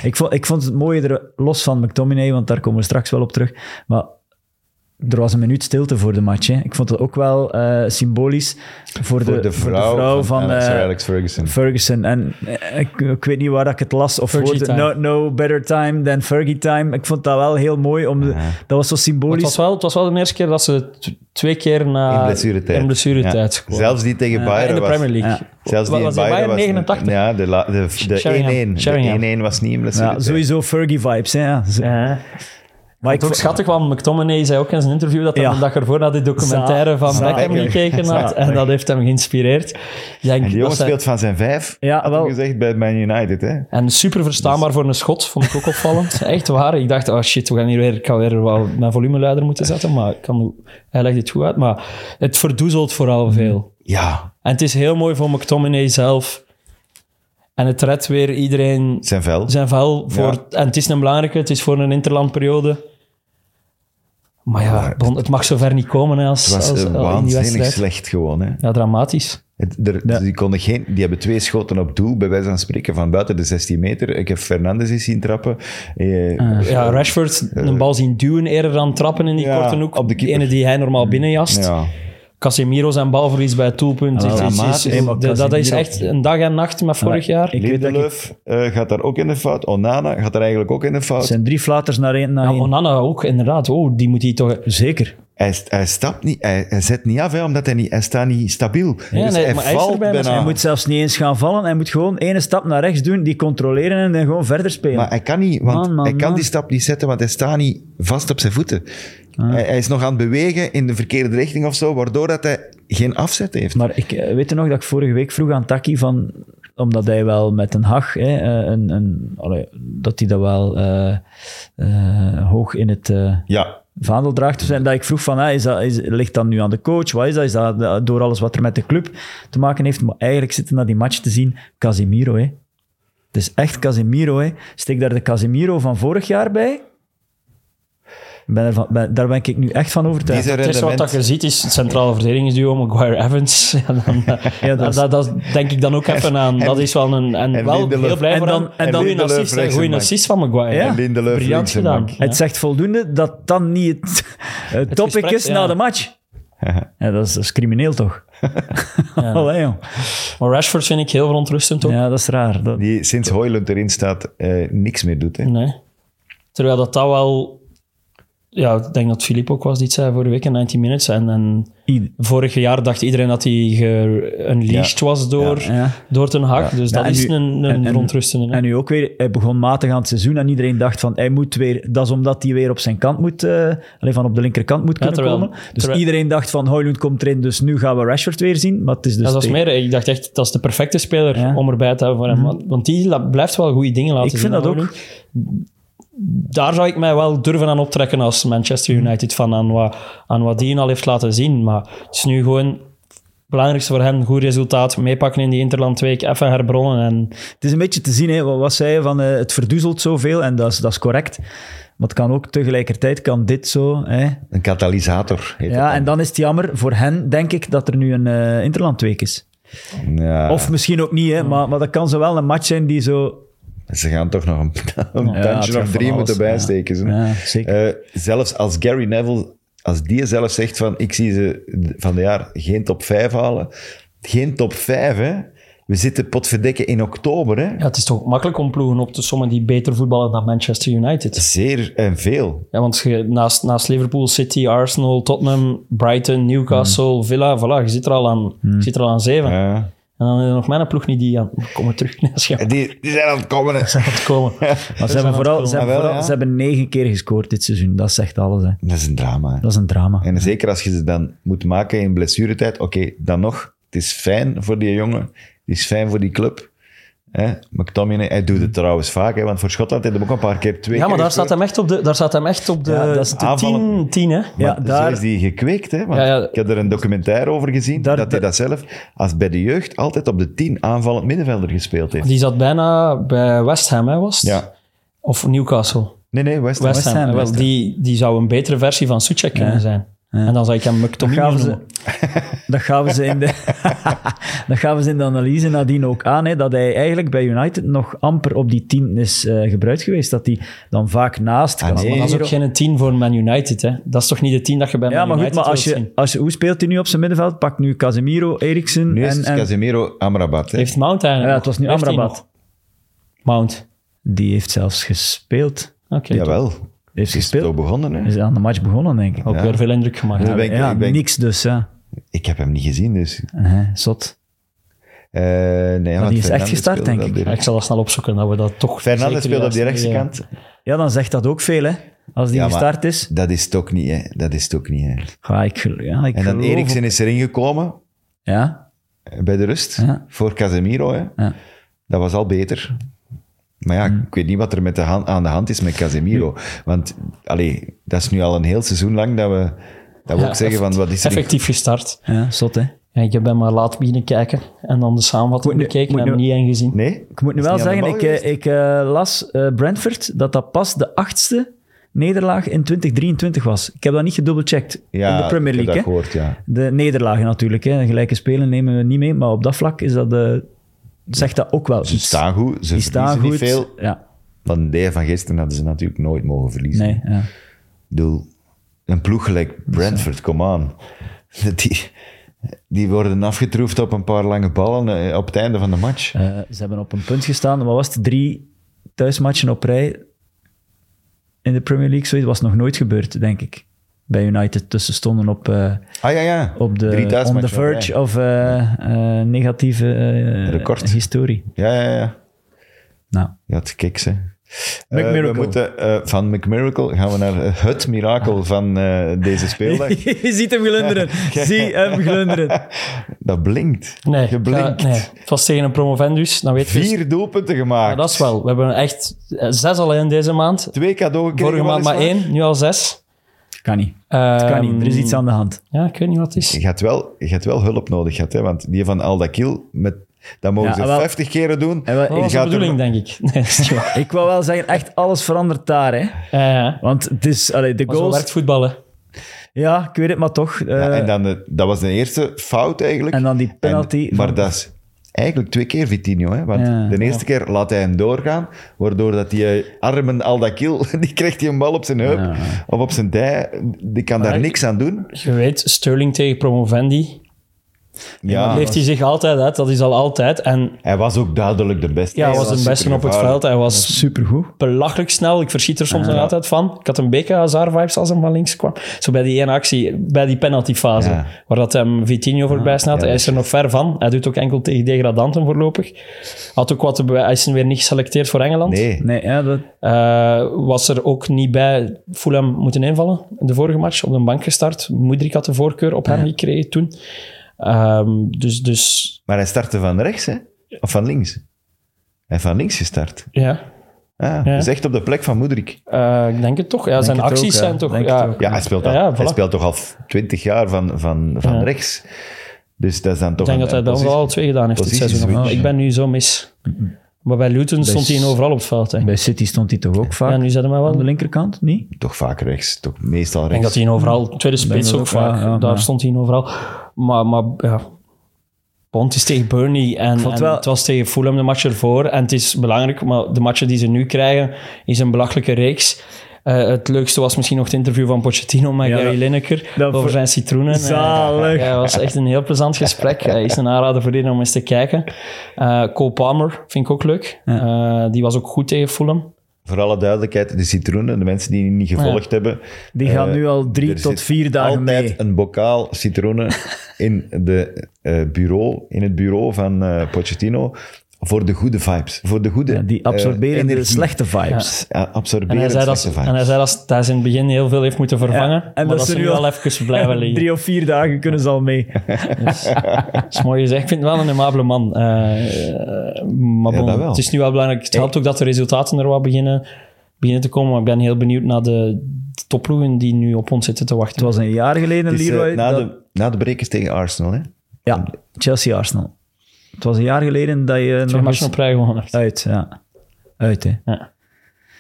Ik vond, ik vond het mooie er, los van McTominay, want daar komen we straks wel op terug. Maar er was een minuut stilte voor de match. Hè. Ik vond dat ook wel eh, symbolisch voor,
Voor
de,
de
voor
vrouw, van,
eh,
Sir Alex Ferguson.
Ferguson. En eh, ik, ik weet niet waar dat ik het las of
Fergie
hoorde.
time.
No, no better time than Fergie time. Ik vond dat wel heel mooi. Om de- dat was zo
Maar Het
symbolisch.
was, wel, het was wel de eerste keer dat ze t- twee keer na...
in blessuretijd.
eh, In blessuretijd
Ja.
kwamen.
Zelfs die tegen
Ja,
Bayern
In de
was-
Premier League.
Zelfs die
Wa- was
in Bayern was...
89?
Ja, de la- de- de 1-1.
Sheringham. Sheringham.
De 1-1 was niet in blessure.
ja, sowieso Fergie vibes. Hè, ja. Zo-
Ja.
Maar
Ik
ik
vond het
vond-
ook schattig, want McTominay zei ook in zijn interview dat hij
Ja.
de dag ervoor naar die documentaire
Za-
van
zalig.
Beckham gekeken had. En dat heeft hem geïnspireerd. Ik Denk,
En die
dat
jongen
zijn-
speelt van zijn vijf,
Ja,
had
wel.
ik gezegd, bij Man United. Hè.
En super verstaanbaar voor een schot, vond ik ook opvallend. Echt waar. Ik dacht, oh shit, we gaan hier weer, ik ga weer wel mijn volume luider moeten zetten. Maar ik kan, hij legt het goed uit. Maar het verdoezelt vooral veel.
Ja,
En het is heel mooi voor McTominay zelf. En het redt weer iedereen
zijn vel.
zijn vel. Voor, En het is een belangrijke, het is voor een interlandperiode. Maar ja, bon, het mag zover niet komen hè, als,
Het was eh,
als, als in die
waanzinnig
wedstrijd.
slecht gewoon. Hè.
Ja, dramatisch.
Het- er- die, konden geen, die hebben twee schoten op doel, bij wijze van spreken, van buiten de 16 meter. Ik heb Fernandes eens zien trappen. Eh,
Ja, Rashford een bal zien duwen eerder dan trappen in die
Ja,
korte hoek.
op de
die
keeper. Mm.
ene die hij normaal binnenjast.
ja.
Casemiro zijn balverlies bij het doelpunt. is- is- is-
dramatisch.
is-
Nee,
maar
de- dat is
Casemiro-
echt een dag en nacht met vorig
Ja,
jaar.
ik- weet dat
Lindelöf eh, gaat daar ook in de fout. Onana gaat daar eigenlijk ook in de
het
fout.
zijn drie flaters naar één. Naar
Ja,
één.
Onana ook, inderdaad. Oh, die moet hij toch...
Zeker.
Hij, st- hij stapt niet, hij, hij zet niet af, hè, omdat hij niet, hij staat niet stabiel. dus
nee,
hij
maar hij is
valt
er bijna.
bijna.
Hij moet zelfs niet eens gaan vallen. Hij moet gewoon ene stap naar rechts doen, die controleren en dan gewoon verder spelen.
Maar hij kan niet, want
Man, man,
hij kan
man.
die stap niet zetten, want hij staat niet vast op zijn voeten. Hij, hij is nog aan het bewegen in de verkeerde richting of zo, waardoor dat hij geen afzet heeft.
Maar ik eh, weet je nog dat ik vorige week vroeg aan Taki van omdat hij wel met een hag, hè, eh, een, een, allee, dat hij dat wel eh, eh, hoog in het eh,
ja,
vaandel draagt. Dus en dat ik vroeg van, hè, is dat, is, ligt dat nu aan de coach? Wat is dat? Is dat eh, door alles wat er met de club te maken heeft? Maar eigenlijk zitten naar die match te zien Casemiro. Hè. Het is echt Casemiro. Hè. Steek daar de Casemiro van vorig jaar bij. Ik Ben ervan, ben, daar ben ik nu echt van
die
overtuigd.
zijn
Het eerste wat dat
rendement.
je ziet is het centrale verdedigingsduo Maguire-Evans. Ja, dan, eh,
Ja, dat
dat,
is-
dat, denk ik dan ook even aan. dat is wel een... En,
en
wel
Lindelof.
heel blij
En
voor
dan-
hem.
en
Goeie
dan
Lindelof
assist, hè,
rechts
goeie
en back.
assist van Maguire.
Ja.
hè.
Lindelof
Briljant
rechts en
gedaan.
back.
Ja.
Het zegt voldoende dat dan niet het, eh, topic
gesprek,
is
ja.
na de match. Ja, dat, is, dat is crimineel toch? Allee, joh.
Maar Rashford vind ik heel verontrustend ook.
Ja, dat is raar. Dat,
Die sinds Hoylund erin staat, eh, niks meer doet. Hè.
Mm.
Nee. Terwijl dat dat wel... Ja, ik denk dat Filip ook was die het zei vorige week in 19 Minutes. En, en
i-
vorig jaar dacht iedereen dat hij unleashed
Ja.
was door,
Ja.
door Ten Hag. Dus
Ja,
dat
en
is
nu-
een,
en-
een
en-
verontrustende. hè.
En nu ook weer, hij begon matig aan het seizoen en iedereen dacht van, hij moet weer, dat is omdat hij weer op zijn kant moet, eh, alleen van op de linkerkant moet kunnen
terwijl-
komen. Dus
terwijl-
iedereen dacht van, Hoylund komt erin, dus nu gaan we Rashford weer zien. Maar het is dus
dat was
tegen-
meer, ik dacht echt, dat is de perfecte speler
Ja. Mhm.
om erbij te hebben voor hem. Want- Want die la- blijft wel goede dingen laten
Ik
zien.
vind dat
hoor.
ook.
Daar zou ik mij wel durven aan optrekken als Manchester
Mhm.
United van aan wat, aan wat die al heeft laten zien. Maar het is nu gewoon het belangrijkste voor hem, goed resultaat, meepakken in die Interland Week, even herbronnen. En
Het is een beetje te zien, hè, wat, wat zei je, van, eh, het verdoezelt zoveel en dat is, dat is correct. Maar het kan ook tegelijkertijd, kan dit zo, hè,
Een katalysator. Heet
Ja, en dan is het jammer voor hen, denk ik, dat er nu een eh, Interlandweek is.
dat. Ja,
Of misschien ook niet, hè, maar, maar dat kan zo wel een match zijn die zo...
Ze gaan toch nog een, een
Ja, het
tandje
gaat
of
van
drie
alles,
moeten
ja.
bijsteken. ze.
Ja, zeker.
Eh, zelfs als Gary Neville, als die zelf zegt van ik zie ze van de jaar geen top 5 halen. Geen top 5, hè. We zitten potverdekken in oktober, hè.
ja, het is toch ook makkelijk om ploegen op te sommen die beter voetballen dan Manchester United.
Zeer en veel.
Ja, want je- naast, naast Liverpool, City, Arsenal, Tottenham, Brighton, Newcastle,
Mhm.
Villa, voilà, je zit er al aan, je zit er al aan zeven.
Ja.
En dan is er nog mijn ploeg niet die aan... Komen terug naar
En
Schermen
Eh, Die, die zijn aan het komen. hè.
te komen.
Maar ze hebben, vooral, ze, hebben
Ah, wel,
vooral,
ja.
ze hebben negen keer gescoord dit seizoen. Dat zegt alles. Hè.
Dat is een drama. hè.
Dat is een drama.
En zeker als je ze dan moet maken in blessuretijd. Oké, dan nog. Het is fijn voor die jongen. Het is fijn voor die club. Hè? McTominay, hij doet
Mhm.
het trouwens vaak. Hè? Want voor Schotland heeft hij ook een paar keer twee
Ja, maar
keer
daar staat
gescoord.
hem echt op de, daar staat hem echt op de,
Ja, dat is
de
aanvallen.
tien, tien, hè.
Ja,
Maar
daar-
Zo is die gekweekt. Hè? Want
Ja, ja.
Ik heb er een documentaire over gezien.
Daar-
dat hij dat zelf, als bij de jeugd, altijd op de tien aanvallend middenvelder gespeeld heeft.
Die zat bijna bij West Ham, hè, was het?
Ja.
Of Newcastle.
Nee, nee, West Ham.
West Ham. eh,
Ham,
Wel,
West Ham.
Die, die zou een betere versie van Suchek kunnen zijn. En dan zou ik hem
Dat
Muktomino
gaven, ze,
noemen.
dat, gaven ze in de, dat gaven ze in de analyse nadien ook aan, hè, dat hij eigenlijk bij United nog amper op die tien is eh, gebruikt geweest. Dat hij dan vaak naast
Ah,
kan.
nee.
Maar
Maar dat is ook geen 10 voor Man United, hè. Dat is toch niet de 10 dat je bij Man
Ja, maar goed,
United
maar als
wilt
je,
zien?
als je, hoe speelt hij nu op zijn middenveld? Pak nu Casemiro, Eriksen
Nu is
en...
het
en
Casemiro Amrabat. Hè?
Heeft Mount eigenlijk nog?
ja, het was nu
Heeft hij
Amrabat.
nog? Mount.
Die heeft zelfs gespeeld.
Oké.
Jawel. Is
Heeft
het ook
gespeeld.
begonnen? Hè?
Is aan de match begonnen, denk ik.
Ook
Ja.
weer veel indruk gemaakt.
Ja. ik denk-
ja,
ik denk-
niks dus, ja.
Ik heb hem niet gezien, dus...
Hè, zot.
eh, nee, want
is echt
Fernandes
gestart,
speelde
denk
dat
ik.
direct.
Ik zal dat snel opzoeken, dat we dat toch...
Fernandes
zeker
speelt op die
juist-
rechtse
ja.
kant.
Ja, dan zegt dat ook veel, hè. Als die
Ja, maar-
gestart is.
Dat is het ook niet, hè. Dat is het ook niet, hè.
Ga ik, gel- ja, ik
En dan
geloof
Eriksen
op-
is erin gekomen eh,
Ja,
bij de rust
Ja.
voor Casemiro. Hè.
Ja. Hmm.
Dat was al beter. Maar ja, ik weet niet wat er met de hand, aan de hand is met Casemiro. Want allee, dat is nu al een heel seizoen lang dat we, dat we
Ja,
ook zeggen van wat is er...
Effectief gestart.
ja, zot, hè.
Ja, ik heb hem maar laat beginnen kijken en dan de samenvatting
Moet nu-
bekeken
moet
en hem
nu-
niet ingezien.
Nee?
Ik moet nu
Is
wel
niet aan de
zeggen,
bal
ik, eh,
geweest?
ik eh, las eh, Brentford dat dat pas de achtste nederlaag in 2023 was. Ik heb dat niet gedubbelcheckt
ja,
in de Premier
ik heb
League.
dat
hè.
gehoord, ja.
De nederlagen natuurlijk. Hè. Gelijke spelen nemen we niet mee, maar op dat vlak is dat de, zegt dat ook wel
Ze
iets.
staan goed, ze
Die
verliezen
staan
niet
goed.
veel.
Ja,
Want de van gisteren hadden ze natuurlijk nooit mogen verliezen.
nee, ja.
Ik bedoel, een ploeg gelijk Brentford, come on. Die, die worden afgetroefd op een paar lange ballen eh, op het einde van de match.
Eh, ze hebben op een punt gestaan. Wat was het? Drie thuismatchen op rij in de Premier League. Zoiets was nog nooit gebeurd, denk ik. Bij United. Dus ze stonden op, eh,
Ah ja, ja.
op
Drie
de, on
thuismatchen
the
op rij.
verge of eh, eh, negatieve eh,
Record.
historie.
Ja, ja, ja.
Nou,
Ja, het kiks, hè.
McMiracle.
Eh, we moeten eh, van McMiracle gaan we naar eh, het mirakel van eh, deze speeldag.
je ziet hem glunderen. Zie hem glunderen.
Dat blinkt.
Nee,
Je
ik
blinkt.
ga- nee, het was tegen een promovendus, dan weet je... dus-
Vier doelpunten gemaakt.
Ja, dat is wel. We hebben echt eh, zes al in deze maand.
Twee cadeau gekregen.
Vorige maand maar
weliswaar.
één, nu al zes.
Kan niet.
Het
Kan niet. Er is iets aan de hand.
Ja, ik weet niet wat het is.
Je gaat wel, je gaat wel hulp nodig gehad, hè, want die van Aldakil, met, dat mogen
Ja,
ze
wel-
50 keren doen.
En
Dat
wel,
Je
ik,
was de
gaat er-
bedoeling, denk ik. Nee, dat is niet waar.
ik wou wel zeggen, echt alles verandert daar. Hè.
Ja, ja.
Want het is, allee, de
Maar zo werkt
goals...
voetballen.
Ja, ik weet het, maar toch. eh,
Ja, en dan de- dat was de eerste fout eigenlijk.
En dan die penalty
En- maar
van-
dat is eigenlijk twee keer Vitinho. Hè? Want
Ja.
de eerste keer laat hij hem doorgaan, waardoor dat die eh, armen al dat kiel, die krijgt hij een bal op zijn heup
Ja.
of op zijn dij. Die kan daar
ik-
niks aan doen.
Je weet, Sterling tegen promovendi.
Ja,
leeft hij zich altijd uit, dat is al altijd. En
hij was ook duidelijk de beste.
ja, hij
Hij
was de beste op het
supergevaarlijk.
veld. Hij was
Supergoed.
belachelijk snel. Ik verschiet er soms nog altijd van. Ik had een beetje Hazard-vibes als hem van links kwam. Zo bij die ene actie, bij die penaltyfase,
Ja.
waar dat hem Vitinho voorbij snapt.
ja,
hij
dat
is er nog ver van. Hij doet ook enkel tegen degradanten voorlopig. Had ook wat te bewijzen. Hij is weer niet geselecteerd voor Engeland.
Nee,
Nee, ja, dat,
Eh, was er ook niet bij Fulham moeten invallen in de vorige match. Op de bank gestart. Moedrik had de voorkeur op hem gekregen toen. Ehm, dus, dus
maar hij startte van rechts hè? of van links. Hij heeft van links gestart.
ja.
Ah,
Ja.
Dus echt op de plek van Moedrik.
Eh, ik denk het toch. Ja, zijn
het
acties
ook, ja.
zijn toch...
Denk
ja.
het ook.
Ja, hij speelt,
Ja,
al,
ja,
hij
voilà.
speelt toch al 20 jaar van, van, van
Ja.
rechts. Dus dat is dan toch
Ik denk
een,
dat hij bij ons
positie-
al twee gedaan heeft dit
positie
seizoen.
switch.
Maar ik ben nu zo mis. Maar bij Luton stond hij overal op het veld. Hè.
bij City stond hij toch ook vaak
Ja, nu zetten we wel.
aan de
Ik
linkerkant, niet?
Toch vaak rechts, toch meestal
denk
rechts.
dat hij overal, Mm. tweede spits
dat
ook,
ook,
vaak,
ja, ja,
daar
ja.
stond hij overal. Maar, maar ja. Bond is tegen Burnley en,
vond
en
wel-
het was tegen Fulham de match ervoor. En het is belangrijk, maar de matchen die ze nu krijgen is een belachelijke reeks. Eh, het leukste was misschien nog het interview van Pochettino met
Ja,
Gary
dat-
Lineker
dat
over
voor-
zijn citroenen. Eh,
Zalig.
Ja, het was echt een heel plezant gesprek. Hij is een aanrader voor iedereen om eens te kijken. Eh Cole Palmer vind ik ook leuk. Eh, die was ook goed tegen Fulham.
Voor alle duidelijkheid, de citroenen, de mensen die niet gevolgd hebben.
Die gaan
eh,
nu al drie
er
tot
zit
vier dagen
altijd
mee.
een bokaal citroenen in, de, eh, bureau, in het bureau van eh, Pochettino. Voor de goede vibes. Voor de goede
Ja, die absorberen
eh,
de
energie.
slechte vibes.
Ja, absorberen
En hij, zei
de
dat,
slechte vibes.
en hij zei dat hij in het begin heel veel heeft moeten vervangen.
Ja,
en maar dat ze nu al even blijven liggen.
Drie of vier dagen kunnen ze al mee.
Dat is mooi gezegd. Ik vind het wel een aimabele man. Eh, eh, maar
Ja,
bon,
dat wel.
het is nu wel belangrijk. Het helpt ook dat de resultaten er wat beginnen, beginnen te komen. Maar ik ben heel benieuwd naar de, de topploegen die nu op ons zitten te wachten.
Het was een jaar geleden,
Het is, eh,
Leroy.
na,
dat-
de, na de break is tegen Arsenal. Hè?
Ja, Chelsea-Arsenal. Het was een jaar geleden dat je
Twee
nog eens...
matchen op rij gewonnen.
Uit, ja. Uit, hè.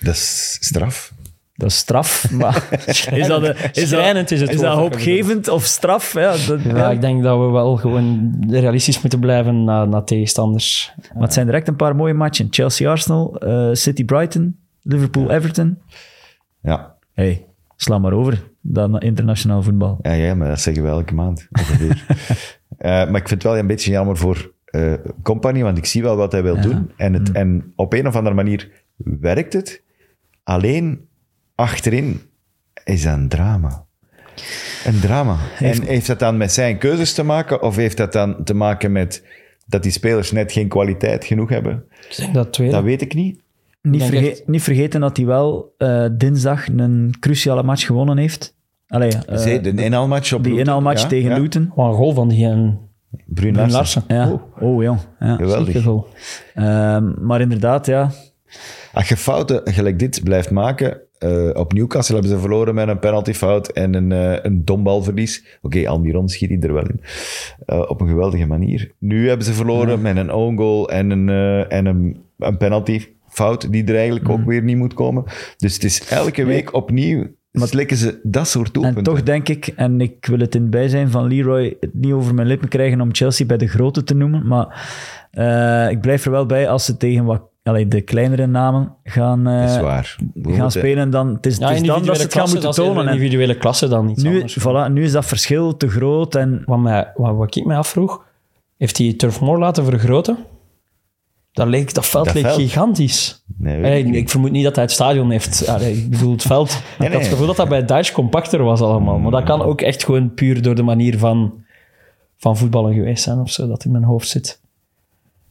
Dat is straf.
Dat is straf, maar is dat, een- is
Schrijnend
dat,
is het
is
woord
dat
dat ik
hoopgevend of straf? Ja, dat,
Ja,
ja.
ik denk dat we wel gewoon realistisch moeten blijven na, na tegenstanders.
Maar het zijn direct een paar mooie matchen. Chelsea-Arsenal, eh, City-Brighton, Liverpool-Everton.
Ja.
hey, sla maar over. Dan internationaal voetbal.
Ja, ja, maar dat zeggen we elke maand. ongeveer. Eh, maar ik vind het wel een beetje jammer voor eh Company, want ik zie wel wat hij wil doen. En,
Mm.
het, en op een of andere manier werkt het. Alleen achterin is dat een drama. Een drama. En heeft dat dan met zijn keuzes te maken? Of heeft dat dan te maken met dat die spelers net geen kwaliteit genoeg hebben?
Ik denk dat tweede.
Dat weet ik niet.
Niet,
denk
verge-
echt-
niet vergeten dat hij wel eh, dinsdag een cruciale match gewonnen heeft. Allee, eh,
Zee, de inhaalmatch op
die
Luton,
inhaalmatch
ja,
tegen
ja.
Luton.
Wat een goal van die en
Bruin
Larsen.
Larsen.
Ja. Oh, jong. Ja.
Geweldig.
Zeker goal.
Ehm, maar inderdaad, ja.
Als je fouten gelijk dit blijft maken, eh, op Newcastle hebben ze verloren met een penaltyfout en een, eh een dombalverlies. Oké, Almiron schiet hij er wel in. Eh, op een geweldige manier. Nu hebben ze verloren met een own goal en een, eh, en een, een penaltyfout die er eigenlijk
Mhm.
ook weer niet moet komen. Dus het is elke week opnieuw. slikken ze dat soort
En
doelpunten.
toch denk ik, en ik wil het in het bijzijn van Leroy het niet over mijn lippen krijgen om Chelsea bij de grote te noemen, maar eh, ik blijf er wel bij als ze tegen wat, allee, de kleinere namen gaan, eh,
dat is waar. We
gaan
moeten-
spelen, dan het is,
Ja,
het is dan dat
individuele
ze het gaan
klasse,
moeten
dat is
tonen. En
individuele klasse dan iets
Nu,
anders.
voilà, nu is dat verschil te groot en
Wat, mij, wat, wat ik mij afvroeg, heeft hij Turf Moor laten vergroten? Dat, leek, dat veld
Dat
leek
veld?
gigantisch.
Nee, weet
Allee,
ik
ik,
niet.
vermoed niet dat hij het stadion heeft. Allee, ik bedoel, het veld. Ik had
nee. Mm.
het gevoel dat dat bij Duits compacter was allemaal. Maar dat kan ook echt gewoon puur door de manier van, van voetballen geweest zijn of zo, dat in mijn hoofd zit.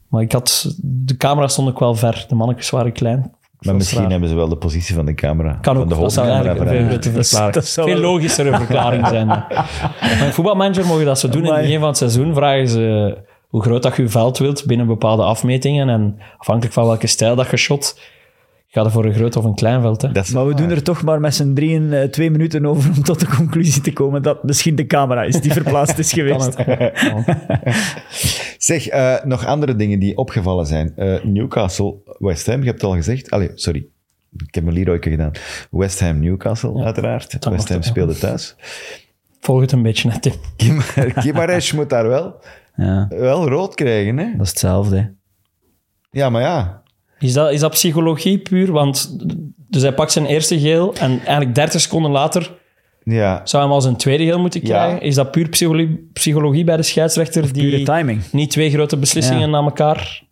Maar ik had... De camera's stond ook wel ver. De mannetjes waren klein. Ik
Maar
was
misschien
raar.
hebben ze wel de positie van de camera.
Kan
van
ook,
de
dat zou
hoofdcamera
eigenlijk een veel
veranderd.
betere
Dat is-
verklaring
dat zou
veel
wel-
logischere verklaring zijn. Maar een voetbalmanager mogen dat zo doen. In het
Amai.
begin van het seizoen vragen ze hoe groot dat je je veld wilt binnen bepaalde afmetingen. En afhankelijk van welke stijl dat je shot, gaat er voor een groot of een klein veld. Hè.
Dat is
Maar we doen er toch maar met z'n drieën eh, twee minuten over om tot de conclusie te komen dat misschien de camera is die verplaatst is
Kan
geweest.
ook. Ja.
Zeg, eh, nog andere dingen die opgevallen zijn. Eh, Newcastle, West Ham, je hebt het al gezegd. Allee, sorry. Ik heb mijn Leroyke gedaan. West Ham, Newcastle, uiteraard.
mag
West Ham
toch,
speelde thuis.
Volg het een beetje, hè, Tim.
Kim, Kimaresh moet daar wel,
Ja,
wel rood krijgen, hè?
dat is hetzelfde. hè.
Ja, maar ja.
Is dat, is dat psychologie puur? Want dus hij pakt zijn eerste geel en eigenlijk 30 seconden later
Ja,
zou hij hem als een tweede geel moeten
Ja.
krijgen. Is dat puur psychologie, psychologie bij de scheidsrechter
Pure
die
timing.
niet twee grote beslissingen
Ja.
na elkaar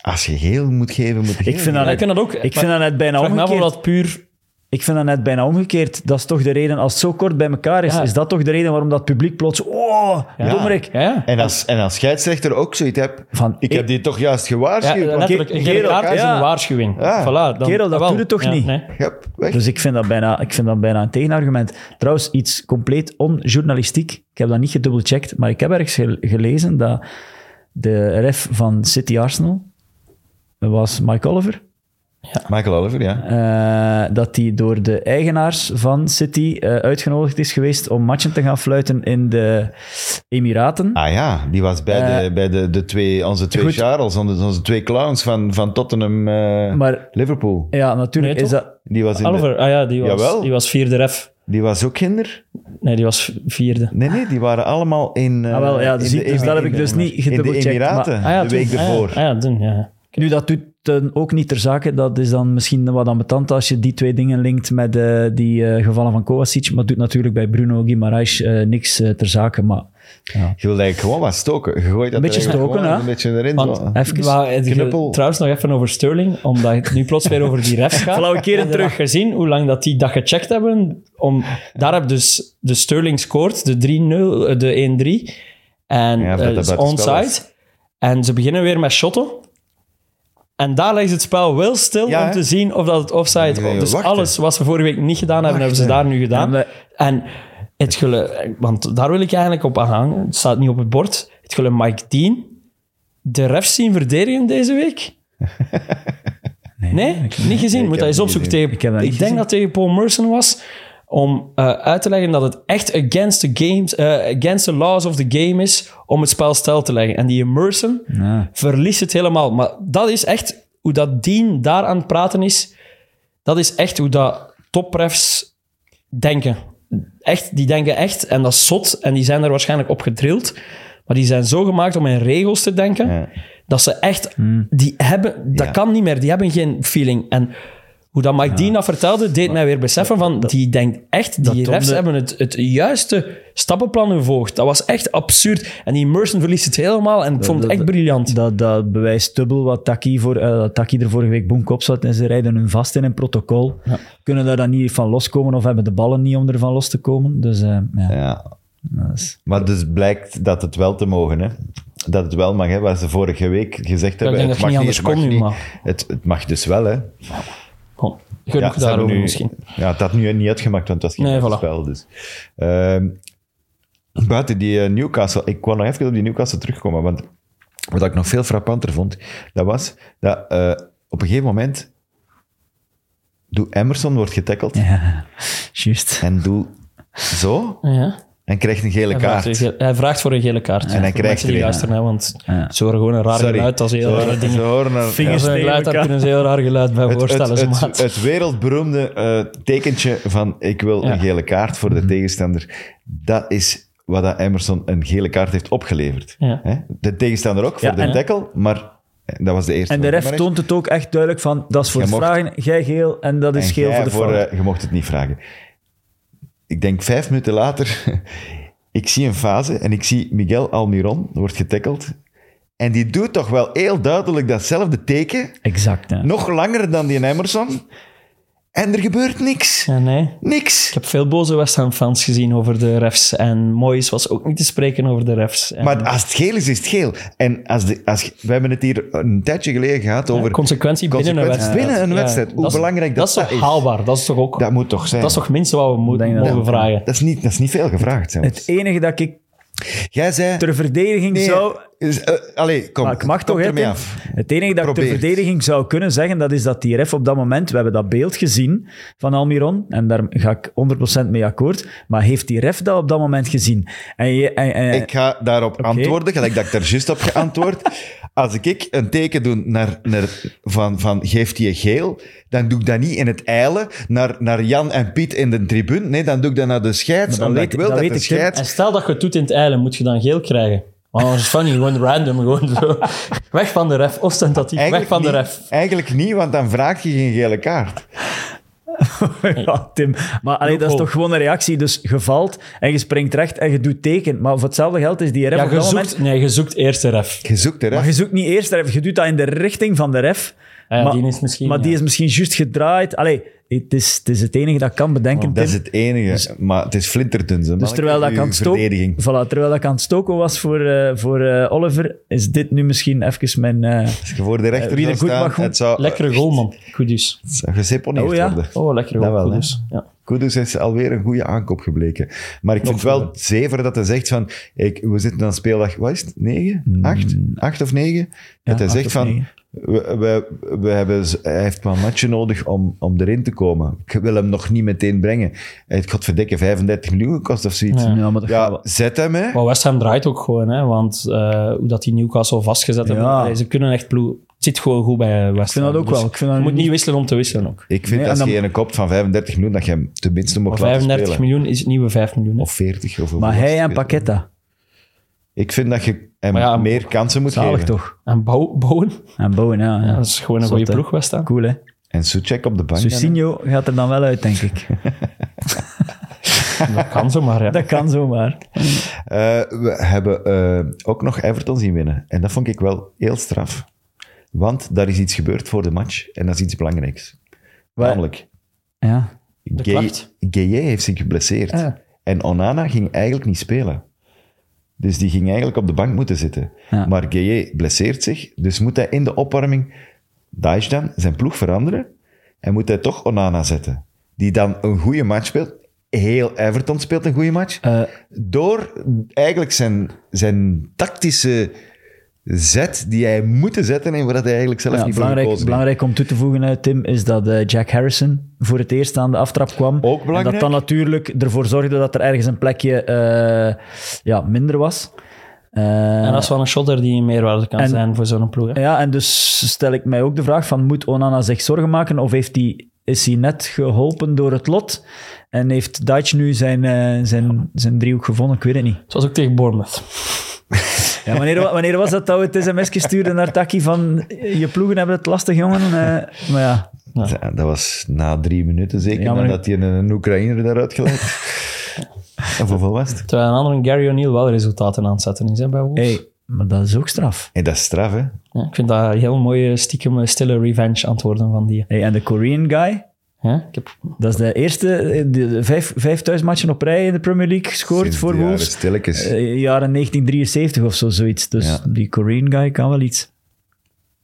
als je geel moet geven, moet je geel
Ik vind
geven.
dat,
Ja, ik vind dat ook.
ik vind dat net bijna
Vraag me af of
omgekeerd.
dat puur...
Ik vind dat net bijna omgekeerd. Dat is toch de reden, als het zo kort bij elkaar is,
Ja.
is dat toch de reden waarom dat publiek plots... Oh, dommerik.
Ja, ja.
En als, en als scheidsrechter ook zoiets hebt...
Van,
ik
ik-
heb die toch juist gewaarschuwd.
ja,
want
letterlijk. Een gele
Kerel,
kaart is
ja.
een waarschuwing.
Ja.
Voilà, dan,
Kerel, dat
jawel.
doe je toch
Ja,
niet?
nee.
ik heb weg.
Dus ik vind, dat bijna, ik vind dat bijna een tegenargument. Trouwens, iets compleet onjournalistiek. Ik heb dat niet gedubbelcheckt, maar ik heb ergens gel- gelezen dat de ref van City Arsenal was Mike Oliver.
Michael Oliver, ja.
Eh, dat hij door de eigenaars van City eh, uitgenodigd is geweest om matchen te gaan fluiten in de Emiraten.
Ah ja, die was bij, de, bij de, de twee, onze twee
Eh, goed.
Charles, onze, onze twee clowns van, van Tottenham, eh,
Maar
Liverpool.
ja, natuurlijk
Nee,
is
toch?
dat...
Die was, in de-
Oliver, ah ja, die was,
Jawel.
die was vierde ref.
die was ook kinder.
Nee, die was vierde.
Nee, nee, die waren allemaal in. eh,
Ah, wel, ja, dus
in
ik- dus
Emi-
dat heb ik
in-
dus niet
In
gedubbelcheckt,
de Emiraten,
Ah ja,
de week
toen. Ah ja,
ervoor.
Ah ja, toen, ja.
Nu, dat doet eh, ook niet ter zake. Dat is dan misschien wat ambetant als je die twee dingen linkt met eh, die eh, gevallen van Kovacic. Maar het doet natuurlijk bij Bruno Guimaraes eh, niks eh, ter zake. Maar
Je wilde eigenlijk gewoon wat stoken. Je gooit dat
Een beetje
er eigenlijk
stoken,
gewoon
hè?
Een beetje erin.
Want,
zo.
even.
Wou- het-
Knuppel.
trouwens, nog even over Sterling, omdat het nu plots weer over die refs gaat.
Flauwe keren
Heb je
terug.
nog gezien hoe lang dat die dat gecheckt hebben. Om, daar heb dus de Sterling scoort, de 3-0, eh, de 1-3. En
Ja,
eh
dat dat
is
buitenspel
onside. En ze beginnen weer met shotten. En daar leggen ze het spel wel stil
Ja,
om
hè?
te zien of dat het offside
Nee,
was. Dus
wachten.
alles wat ze vorige week niet gedaan hebben, hebben ze daar nu gedaan.
Ja,
En het gele, want daar wil ik eigenlijk op aanhangen. Het staat niet op het bord. Het gele Mike Dean. De refs zien verdedigen deze week? Nee, niet gezien.
ik heb
Moet hij
het
eens
niet gezien.
opzoeken tegen...
Ik
Ik,
heb dat niet
denk
gezien.
dat tegen Paul Merson was om eh, uit te leggen dat het echt against the, games, eh, against the laws of the game is om het spel stel te leggen. En die Merson
Ah.
verliest het helemaal. Maar dat is echt hoe dat Dean daar aan het praten is. Dat is echt hoe dat toprefs denken. Echt, die denken echt, en dat is zot, en die zijn er waarschijnlijk op gedrild. Maar die zijn zo gemaakt om in regels te denken,
Ja.
dat ze echt,
Hmm.
die hebben, dat
Ja.
kan niet meer, die hebben geen feeling. En hoe dat Mike Dean dat vertelde, deed mij weer beseffen van, die denkt echt, die
dat
refs
toonde-
hebben het, het juiste stappenplan gevolgd. Dat was echt absurd. En die Merson verliest het helemaal en ik vond het
dat-
echt briljant.
Dat, dat bewijst dubbel wat Taki, voor, eh, dat Taki er vorige week boek op zat en ze rijden hun vast in een protocol. Kunnen daar dan niet van loskomen of hebben de ballen niet om ervan los te komen. Dus eh, ja,
Ja.
dat is-
Maar dus blijkt dat het wel te mogen, hè? Dat het wel mag, hè? Waar ze vorige week gezegd hebben,
denk
het
dat
mag
het niet
niet, het mag
anders kon
niet.
nu,
Het, het mag dus wel, hè?
Goh,
Ja,
genoeg
ze hebben
daarover
nu-
misschien.
Ja, het had nu niet uitgemaakt, want het was geen
Nee, voilà.
spel. Dus. Ehm, buiten die eh, Newcastle, ik wou nog even op die Newcastle terugkomen, want wat ik nog veel frappanter vond, dat was dat eh, op een gegeven moment Doe Emerson wordt getackled
ja, juist.
en Doe zo
Ah Ja.
en krijgt een gele
Hij
kaart.
vraagt, voor een ge- hij vraagt voor een gele kaart.
hij
Voor
krijgt
mensen
er
die
een.
luisteren, hè, want
Ja.
ze horen gewoon een raar
Sorry.
geluid. Dat is een heel
Ze-
rare
ze
ding.
horen naar-
Vingers
Als
ja.
een
tegen
geluid, daar
elkaar.
kunnen ze een heel raar geluid bij
Het, het,
voorstellen. ze
het-
maat.
het wereldberoemde eh, tekentje van ik wil
Ja.
een gele kaart voor de
Mhm.
tegenstander. Dat is wat dat Emerson een gele kaart heeft opgeleverd.
Ja.
Hè? De tegenstander ook voor
Ja,
de
en-
tackle, maar eh, dat was de eerste.
En de
Maar
ref
echt-
toont het ook echt duidelijk van, dat is voor
Je
de
mocht-
vragen, jij geel en dat is
en
geel
jij
voor de fout.
eh, je mocht het niet vragen. Ik denk vijf minuten later, ik zie een fase en ik zie Miguel Almiron wordt getackeld. En die doet toch wel heel duidelijk datzelfde teken,
exact, ja.
nog langer dan die Emerson. En er gebeurt niks.
Ja, nee.
Niks.
Ik heb veel boze West Ham fans gezien over de refs. En Moyes was ook niet te spreken over de refs. En
Maar als het geel is, is het geel. En als de, als, we hebben het hier een tijdje geleden gehad over...
consequentie binnen een
consequenties
wedstrijd.
binnen een
Ja,
wedstrijd. Hoe
dat is-
belangrijk dat,
dat is toch haalbaar? Dat is toch ook...
Dat moet toch zijn.
Dat is toch het minste wat we mo-
denk
mogen
dat dat-
vragen?
Dat is niet, dat is niet veel gevraagd zelfs.
Het enige dat ik
Jij zei...
ter verdediging
nee,
zou...
is- eh, allee, kom.
Maar ik mag
kom
toch, hè,
ermee
Tim?
af.
Het enige dat ik
Probeer.
ter verdediging zou kunnen zeggen, dat is dat die ref op dat moment, we hebben dat beeld gezien van Almiron, en daar ga ik 100% mee akkoord, maar heeft die ref dat op dat moment gezien? En je, en, en-
Ik ga daarop antwoorden, gelijk dat ik daar juist op geantwoord. Als ik een teken doe naar, naar, van, van geeft hij geel, dan doe ik dat niet in het eilen naar, naar Jan en Piet in de tribune. Nee, dan doe ik dat naar de scheids.
dan
Omdat
weet-
ik wil
dan
dat,
weet
de
ik, Tim,
scheids...
En stel dat je het doet in het eilen, moet je dan geel krijgen? Want anders is funny, gewoon random, gewoon zo. Weg van de ref, ostentatief, weg van de
niet,
ref.
Eigenlijk niet, want dan vraag je geen gele kaart.
ja, Tim, maar allee, dat is
Loophole.
toch gewoon een reactie. Dus je valt en je springt recht en je doet teken. Maar voor hetzelfde geld is die ref
Ja,
op
je
dat
zoekt,
moment...
nee, je zoekt eerst de ref.
Je zoekt de
Maar je
ref.
zoekt niet eerst de ref, je doet dat in de richting van de ref.
Ah Ja,
maar
die is misschien,
maar die
ja.
is misschien juist gedraaid. Allee, het is, het is het enige dat ik kan bedenken, Tim.
Oh, Dat is het enige, maar het is flinterdun. Ze
Dus
maken
terwijl dat,
uw
aan het stoken,
verdediging.
voilà, terwijl dat aan het stoken was voor, eh, voor eh, Oliver, is dit nu misschien even mijn... eh,
Als je voor de rechter
Eh, wie er
zou
goed
staan,
mag, goed.
het zou,
Lekkere goal, man. Goed dus.
het zou geseponeerd
Oh ja.
worden.
Oh, lekkere
Dat
goal.
wel,
Goed
hè?
dus. Ja.
Kudus is alweer een goede aankoop gebleken. Maar ik vind het wel zever dat hij zegt van... Ik, we zitten aan speeldag, wat is het? Negen? Acht? Acht of negen? dat hij
Hmm. acht
zegt
of
van...
negen.
We, we, we hebben, z- hij heeft maar een matje nodig om, om erin te komen. Ik wil hem nog niet meteen brengen. Hij heeft, godverdikke, 35 miljoen gekost of zoiets.
Ja, maar dat gaat
Ja,
wel.
zet hem, hè.
Maar West Ham draait ook gewoon, hè. Want eh, hoe dat die Newcastle vastgezet hebben,
Ja.
allee, ze kunnen echt ploeg... Het zit gewoon goed bij West Ham. Ik
vind dat ook wel. Ik vind dat
je moet
niet-
niet wisselen om te wisselen ook.
Ik vind
Nee,
als
en
je
dan-
een koopt van 35 miljoen, dat je hem tenminste
Maar
mag laten
35
spelen.
miljoen is het nieuwe 5 miljoen. hè.
Of 40 of hoeveel
maar
was
hij
het?
en Paqueta,
Ik vind dat je hem
Maar ja,
meer kansen moet
zalig
geven.
toch?
En bouw, bouwen,
En Bowen, ja. ja.
dat is gewoon een
Zot,
goede
hè.
ploeg, West Ham.
Cool, hè?
En Suchek op de bank.
Susinho gaat er dan wel uit, denk ik.
Dat kan zomaar, ja.
Dat kan zomaar.
Eh, we hebben eh, ook nog Everton zien winnen. En dat vond ik wel heel straf. Want daar is iets gebeurd voor de match. En dat is iets belangrijks.
Wat?
Namelijk,
Ja.
Gueye
klacht.
Gueye heeft zich geblesseerd.
Ja.
En Onana ging eigenlijk niet spelen. Dus die ging eigenlijk op de bank moeten zitten.
Ja.
Maar Gueye blesseert zich. Dus moet hij in de opwarming Daesh dan zijn ploeg veranderen. En moet hij toch Onana zetten. Die dan een goede match speelt. Heel Everton speelt een goede match.
Eh.
Door eigenlijk zijn, zijn tactische zet die hij moet zetten. En waar hij eigenlijk zelf
Ja,
niet voor
belangrijk,
gekozen heeft.
belangrijk om toe te voegen, eh, Tim, is dat eh, Jack Harrison voor het eerst aan de aftrap kwam.
Ook
En
belangrijk.
dat dan natuurlijk ervoor zorgde dat er ergens een plekje eh, ja, minder was. Eh,
En dat is wel een shotter die een meerwaarde kan
En-
zijn voor zo'n ploeg. hè.
Ja, en dus stel ik mij ook de vraag van, moet Onana zich zorgen maken of heeft hij is hij net geholpen door het lot. En heeft Dutch nu zijn, eh, zijn, zijn driehoek gevonden? Ik weet het niet.
Zoals ook tegen Bournemouth.
Ja, wanneer, wa- wanneer was dat dat we het sms'je stuurden naar Taki van eh, je ploegen hebben het lastig, jongen? Eh, maar ja,
Ja, Dat was na drie minuten zeker,
Ja, maar-
nadat hij een Oekraïner daaruit geleid. of hoeveel was het?
Terwijl een andere Gary O'Neill wel resultaten aan het zetten is hè, bij Wolves.
hey, maar dat is ook straf.
En dat is straf, hè?
Ja, ik vind dat een heel mooie stiekem eh, stille revenge antwoorden van die.
Hey, en de Korean guy,
Ja, ik heb
dat is de eerste, eh, de, de vijf, vijf thuismatchen op rij in de Premier League gescoord
Sinds
voor
de jaren
Wolves.
Stilletjes.
Eh, jaren 1973 of zo, zoiets. Dus
Ja.
die Korean guy kan wel iets.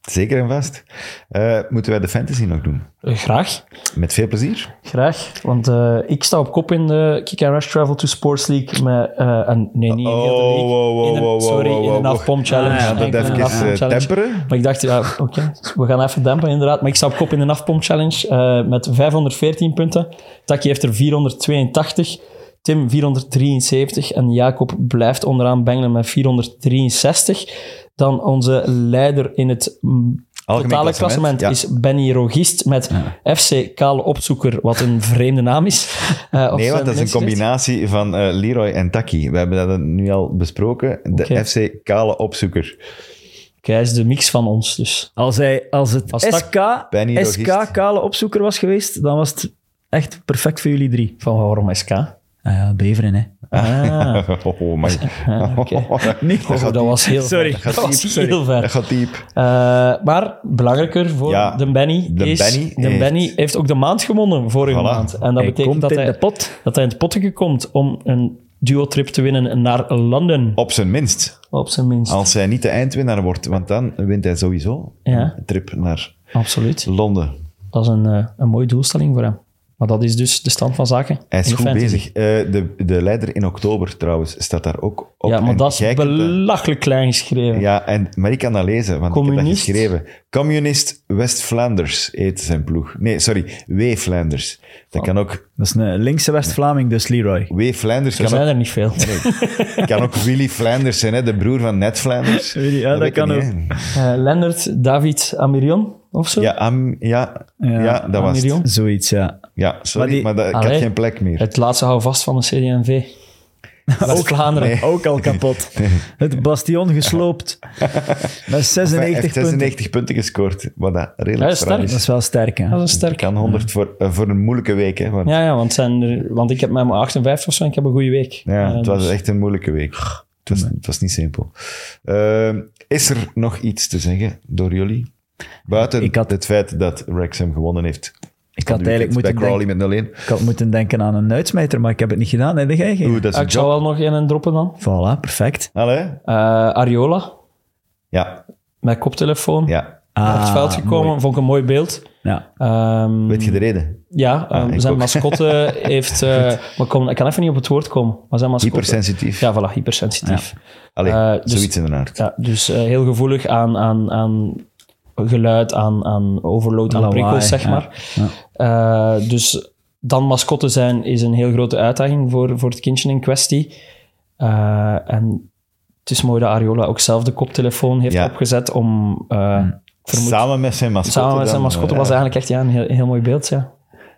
Zeker en vast. Eh, moeten wij de fantasy nog doen?
eh, graag.
Met veel plezier.
Graag, want eh, ik sta op kop in de Kick and Rush Travel to Sports League met eh, een... Nee, niet in heel de
Oh,
league.
wow, wow,
In een-
wow, wow,
Sorry,
wow,
in een
wow.
half-pomp challenge.
Ah, ja, dat
Enkel een
even, eh,
half-pomp challenge.
temperen.
Maar ik dacht, ja, oké, we gaan even dempen inderdaad. Maar ik sta op kop in de half-pomp challenge eh, met 514 punten. Taki heeft er 482. Tim 473 en Jacob blijft onderaan bengelen met 463. Dan onze leider in het mm,
Algemeen
totale
klassement,
klassement,
ja.
is Benny Rogist met FC Kale Opzoeker, wat een vreemde naam is. Eh, of
Nee,
zijn
want dat is een
mensen dit?
combinatie van eh, Leroy en Taki. We hebben dat nu al besproken. De
Oké.
FC Kale Opzoeker.
Oké, hij is de mix van ons dus.
Als, hij, als het
Als dat-
SK,
Benny Rogist.
SK kale opzoeker was geweest, dan was het echt perfect voor jullie drie.
Van waarom SK?
Ah ja, Beveren, hè.
Ah,
Oh, man.
oké.
Nee,
Dat gaat
dat was heel
Sorry.
ver. Dat was
Sorry,
heel ver.
Dat gaat diep.
Eh, maar belangrijker voor
Ja,
de Benny
de
is...
Benny
de
heeft-
Benny heeft ook de maand gewonnen vorige
Voilà.
maand. En dat
hij
betekent
komt
dat
in
hij,
de pot.
dat hij in het potteke komt om een duo-trip te winnen naar Londen,
Op zijn minst.
op zijn minst.
Als hij niet de eindwinnaar wordt, want dan wint hij sowieso
Ja.
een trip naar
Absoluut.
Londen.
Dat is een, eh, een mooie doelstelling voor hem. Maar dat is dus de stand van zaken.
Hij is
in de
goed
fantasy.
bezig. Eh, de, de leider in oktober trouwens staat daar ook op.
Ja, maar
En
dat is
jij kunt dat-
belachelijk klein geschreven.
Ja, en, maar ik kan dat lezen, want ik heb dat
Communist?
geschreven. Communist West-Vlaanders heet zijn ploeg. Nee, sorry, W-Vlaanders.
Oh.
Dat kan ook...
Dat is een linkse West-Vlaming, dus Leroy.
W-Vlaanders
er
kan,
zijn
ook-
er niet veel.
kan ook Willy Vlaanders zijn, hè, de broer van Ned Vlaanders.
Willy, ja, dat
weet
kan
ik
ook.
hè.
Eh Lennart, David, Amirion of zo?
Ja, am- ja, ja, dat was het.
Amirion.
Zoiets, ja.
Ja, sorry,
Maar die-
maar dat, ik
Allee.
had geen plek meer.
Het laatste hou vast van de CD&V. Ook Vlaanderen.
Ook al kapot. Het bastion gesloopt. Met
Enfin,
96
hij heeft
punten.
96 punten gescoord, wat dat
Ja,
redelijk
dat is
fraai
sterk.
is.
Dat is wel sterk, hè.
Dat is
Er
sterk.
kan 100 voor, eh, voor een moeilijke week. Hè, want, ja,
Ja, ja want, zijn er, want ik heb met mijn 58 of zo en ik heb een goede week. Eh,
het
dus-
was echt een moeilijke week. Het was, het was niet simpel. Ehm, is er nog iets te zeggen door jullie? Buiten
Ik had-
het feit dat Wrexham gewonnen heeft.
Ik had eigenlijk moeten
Bij Crawley
denken,
met 0-1.
ik had moeten denken aan een uitsmijter, maar ik heb het niet gedaan. Heb jij geen?
Oeh, dat is
Ah,
een
ik zou
job.
wel nog in een droppen dan.
Voilà, perfect.
Allee?
Eh, Ariola,
Ja,
met koptelefoon,
ja.
Ah,
op het veld gekomen.
mooi.
Vond ik een mooi beeld.
Ja.
Ehm,
Weet je de reden?
ja, eh,
Ah, ik
zijn
ook.
mascotte heeft... eh, maar ik kom, ik kan even niet op het woord komen. Maar zijn mascotte...
Hypersensitief.
Ja, voilà, hypersensitief.
Allee,
eh, dus-
zoiets in de aard.
Ja, dus eh, heel gevoelig aan, aan, aan geluid, aan, aan overload, aan
Lawaai,
prikkels, zeg
ja.
maar. Eh, dus dan mascotte zijn is een heel grote uitdaging voor, voor het kindje in kwestie. Eh, en het is mooi dat Ariola ook zelf de koptelefoon heeft
Ja.
opgezet om... eh, vermoed-
Samen met zijn mascotte.
samen met zijn
dan,
mascotte
eh,
was eigenlijk echt ja, een heel, heel mooi beeld, ja.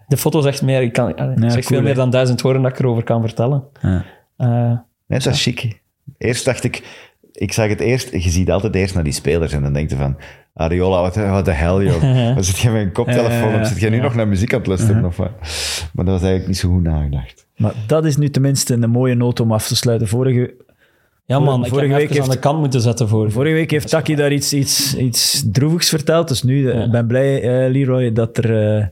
De foto zegt meer, ik kan, eh, zegt
cool,
veel
hè.
meer dan duizend woorden dat ik erover kan vertellen.
Ja.
Eh,
Net als chic. Eerst dacht ik, ik zag het eerst, je ziet altijd eerst naar die spelers en dan denk je van, Ariola, wat wat de hel joh. Dan zit je met een koptelefoon op, zit je nu nog naar muziek aan het luisteren of wat? Maar dat was eigenlijk niet zo goed nagedacht.
Maar dat is nu tenminste een mooie noot om af te sluiten. Vorige,
ja man,
Vorige
ik heb
week
week even aan
heeft-
de kant moeten zetten voor.
vorige week heeft Taki daar iets, iets, iets droevigs verteld. Dus nu eh, ik ben blij, eh, Leroy, dat er eh,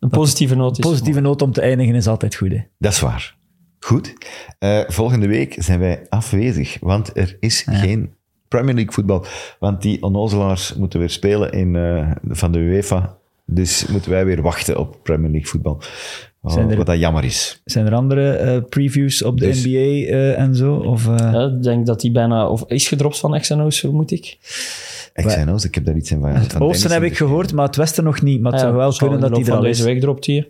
een positieve noot is.
positieve noot om te eindigen is altijd goed. Hè.
Dat is waar. Goed. Eh, volgende week zijn wij afwezig, want er is geen Premier League voetbal. Want die onnozelaars moeten weer spelen in, eh, van de UEFA. Dus moeten wij weer wachten op Premier League voetbal. Oh,
Zijn er-
Wat dat jammer is.
Zijn er andere eh, previews op de
Dus-
NBA eh, en zo? Of, eh,
Ja, ik denk dat hij bijna of is gedropt van XNO's, vermoed ik.
Ik zei nou, ik heb daar iets in van. van
het oosten
Dennis
heb
in
ik gehoord, maar het westen nog niet. Maar het
Ah Ja,
zou wel
zal
kunnen
in de
dat
loop
die er
van
al is.
deze week dropt hier.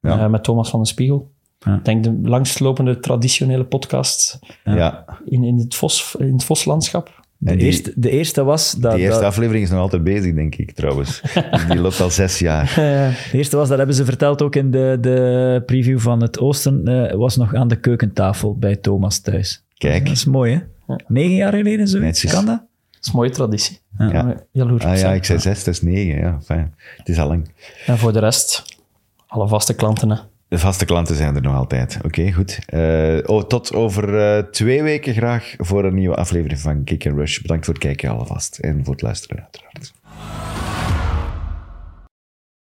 Ja.
met Thomas van den Spiegel.
Ja.
Ik denk de langslopende traditionele podcast
Ja,
in, in, het, Vos, in het Voslandschap.
De,
En die-
eerste, de eerste was dat,
Die eerste
dat-
aflevering is nog altijd bezig, denk ik trouwens. Die loopt al zes jaar.
de eerste was, dat hebben ze verteld ook in de, de eh, preview van het Oosten, eh, was nog aan de keukentafel bij Thomas thuis.
Kijk.
Dat is mooi, hè? Negen jaar geleden, zoiets.
Netjes.
Kan dat?
is een mooie traditie.
Ja.
Ja.
Jaloers op
Ah ja,
zijn.
ik zei zes, dat is negen. Ja, fijn. Het is al lang.
En voor de rest, alle vaste klanten. Hè.
De vaste klanten zijn er nog altijd. Oké, goed. Eh, oh, tot over eh, twee weken graag voor een nieuwe aflevering van Kick and Rush. Bedankt voor het kijken alvast en voor het luisteren uiteraard.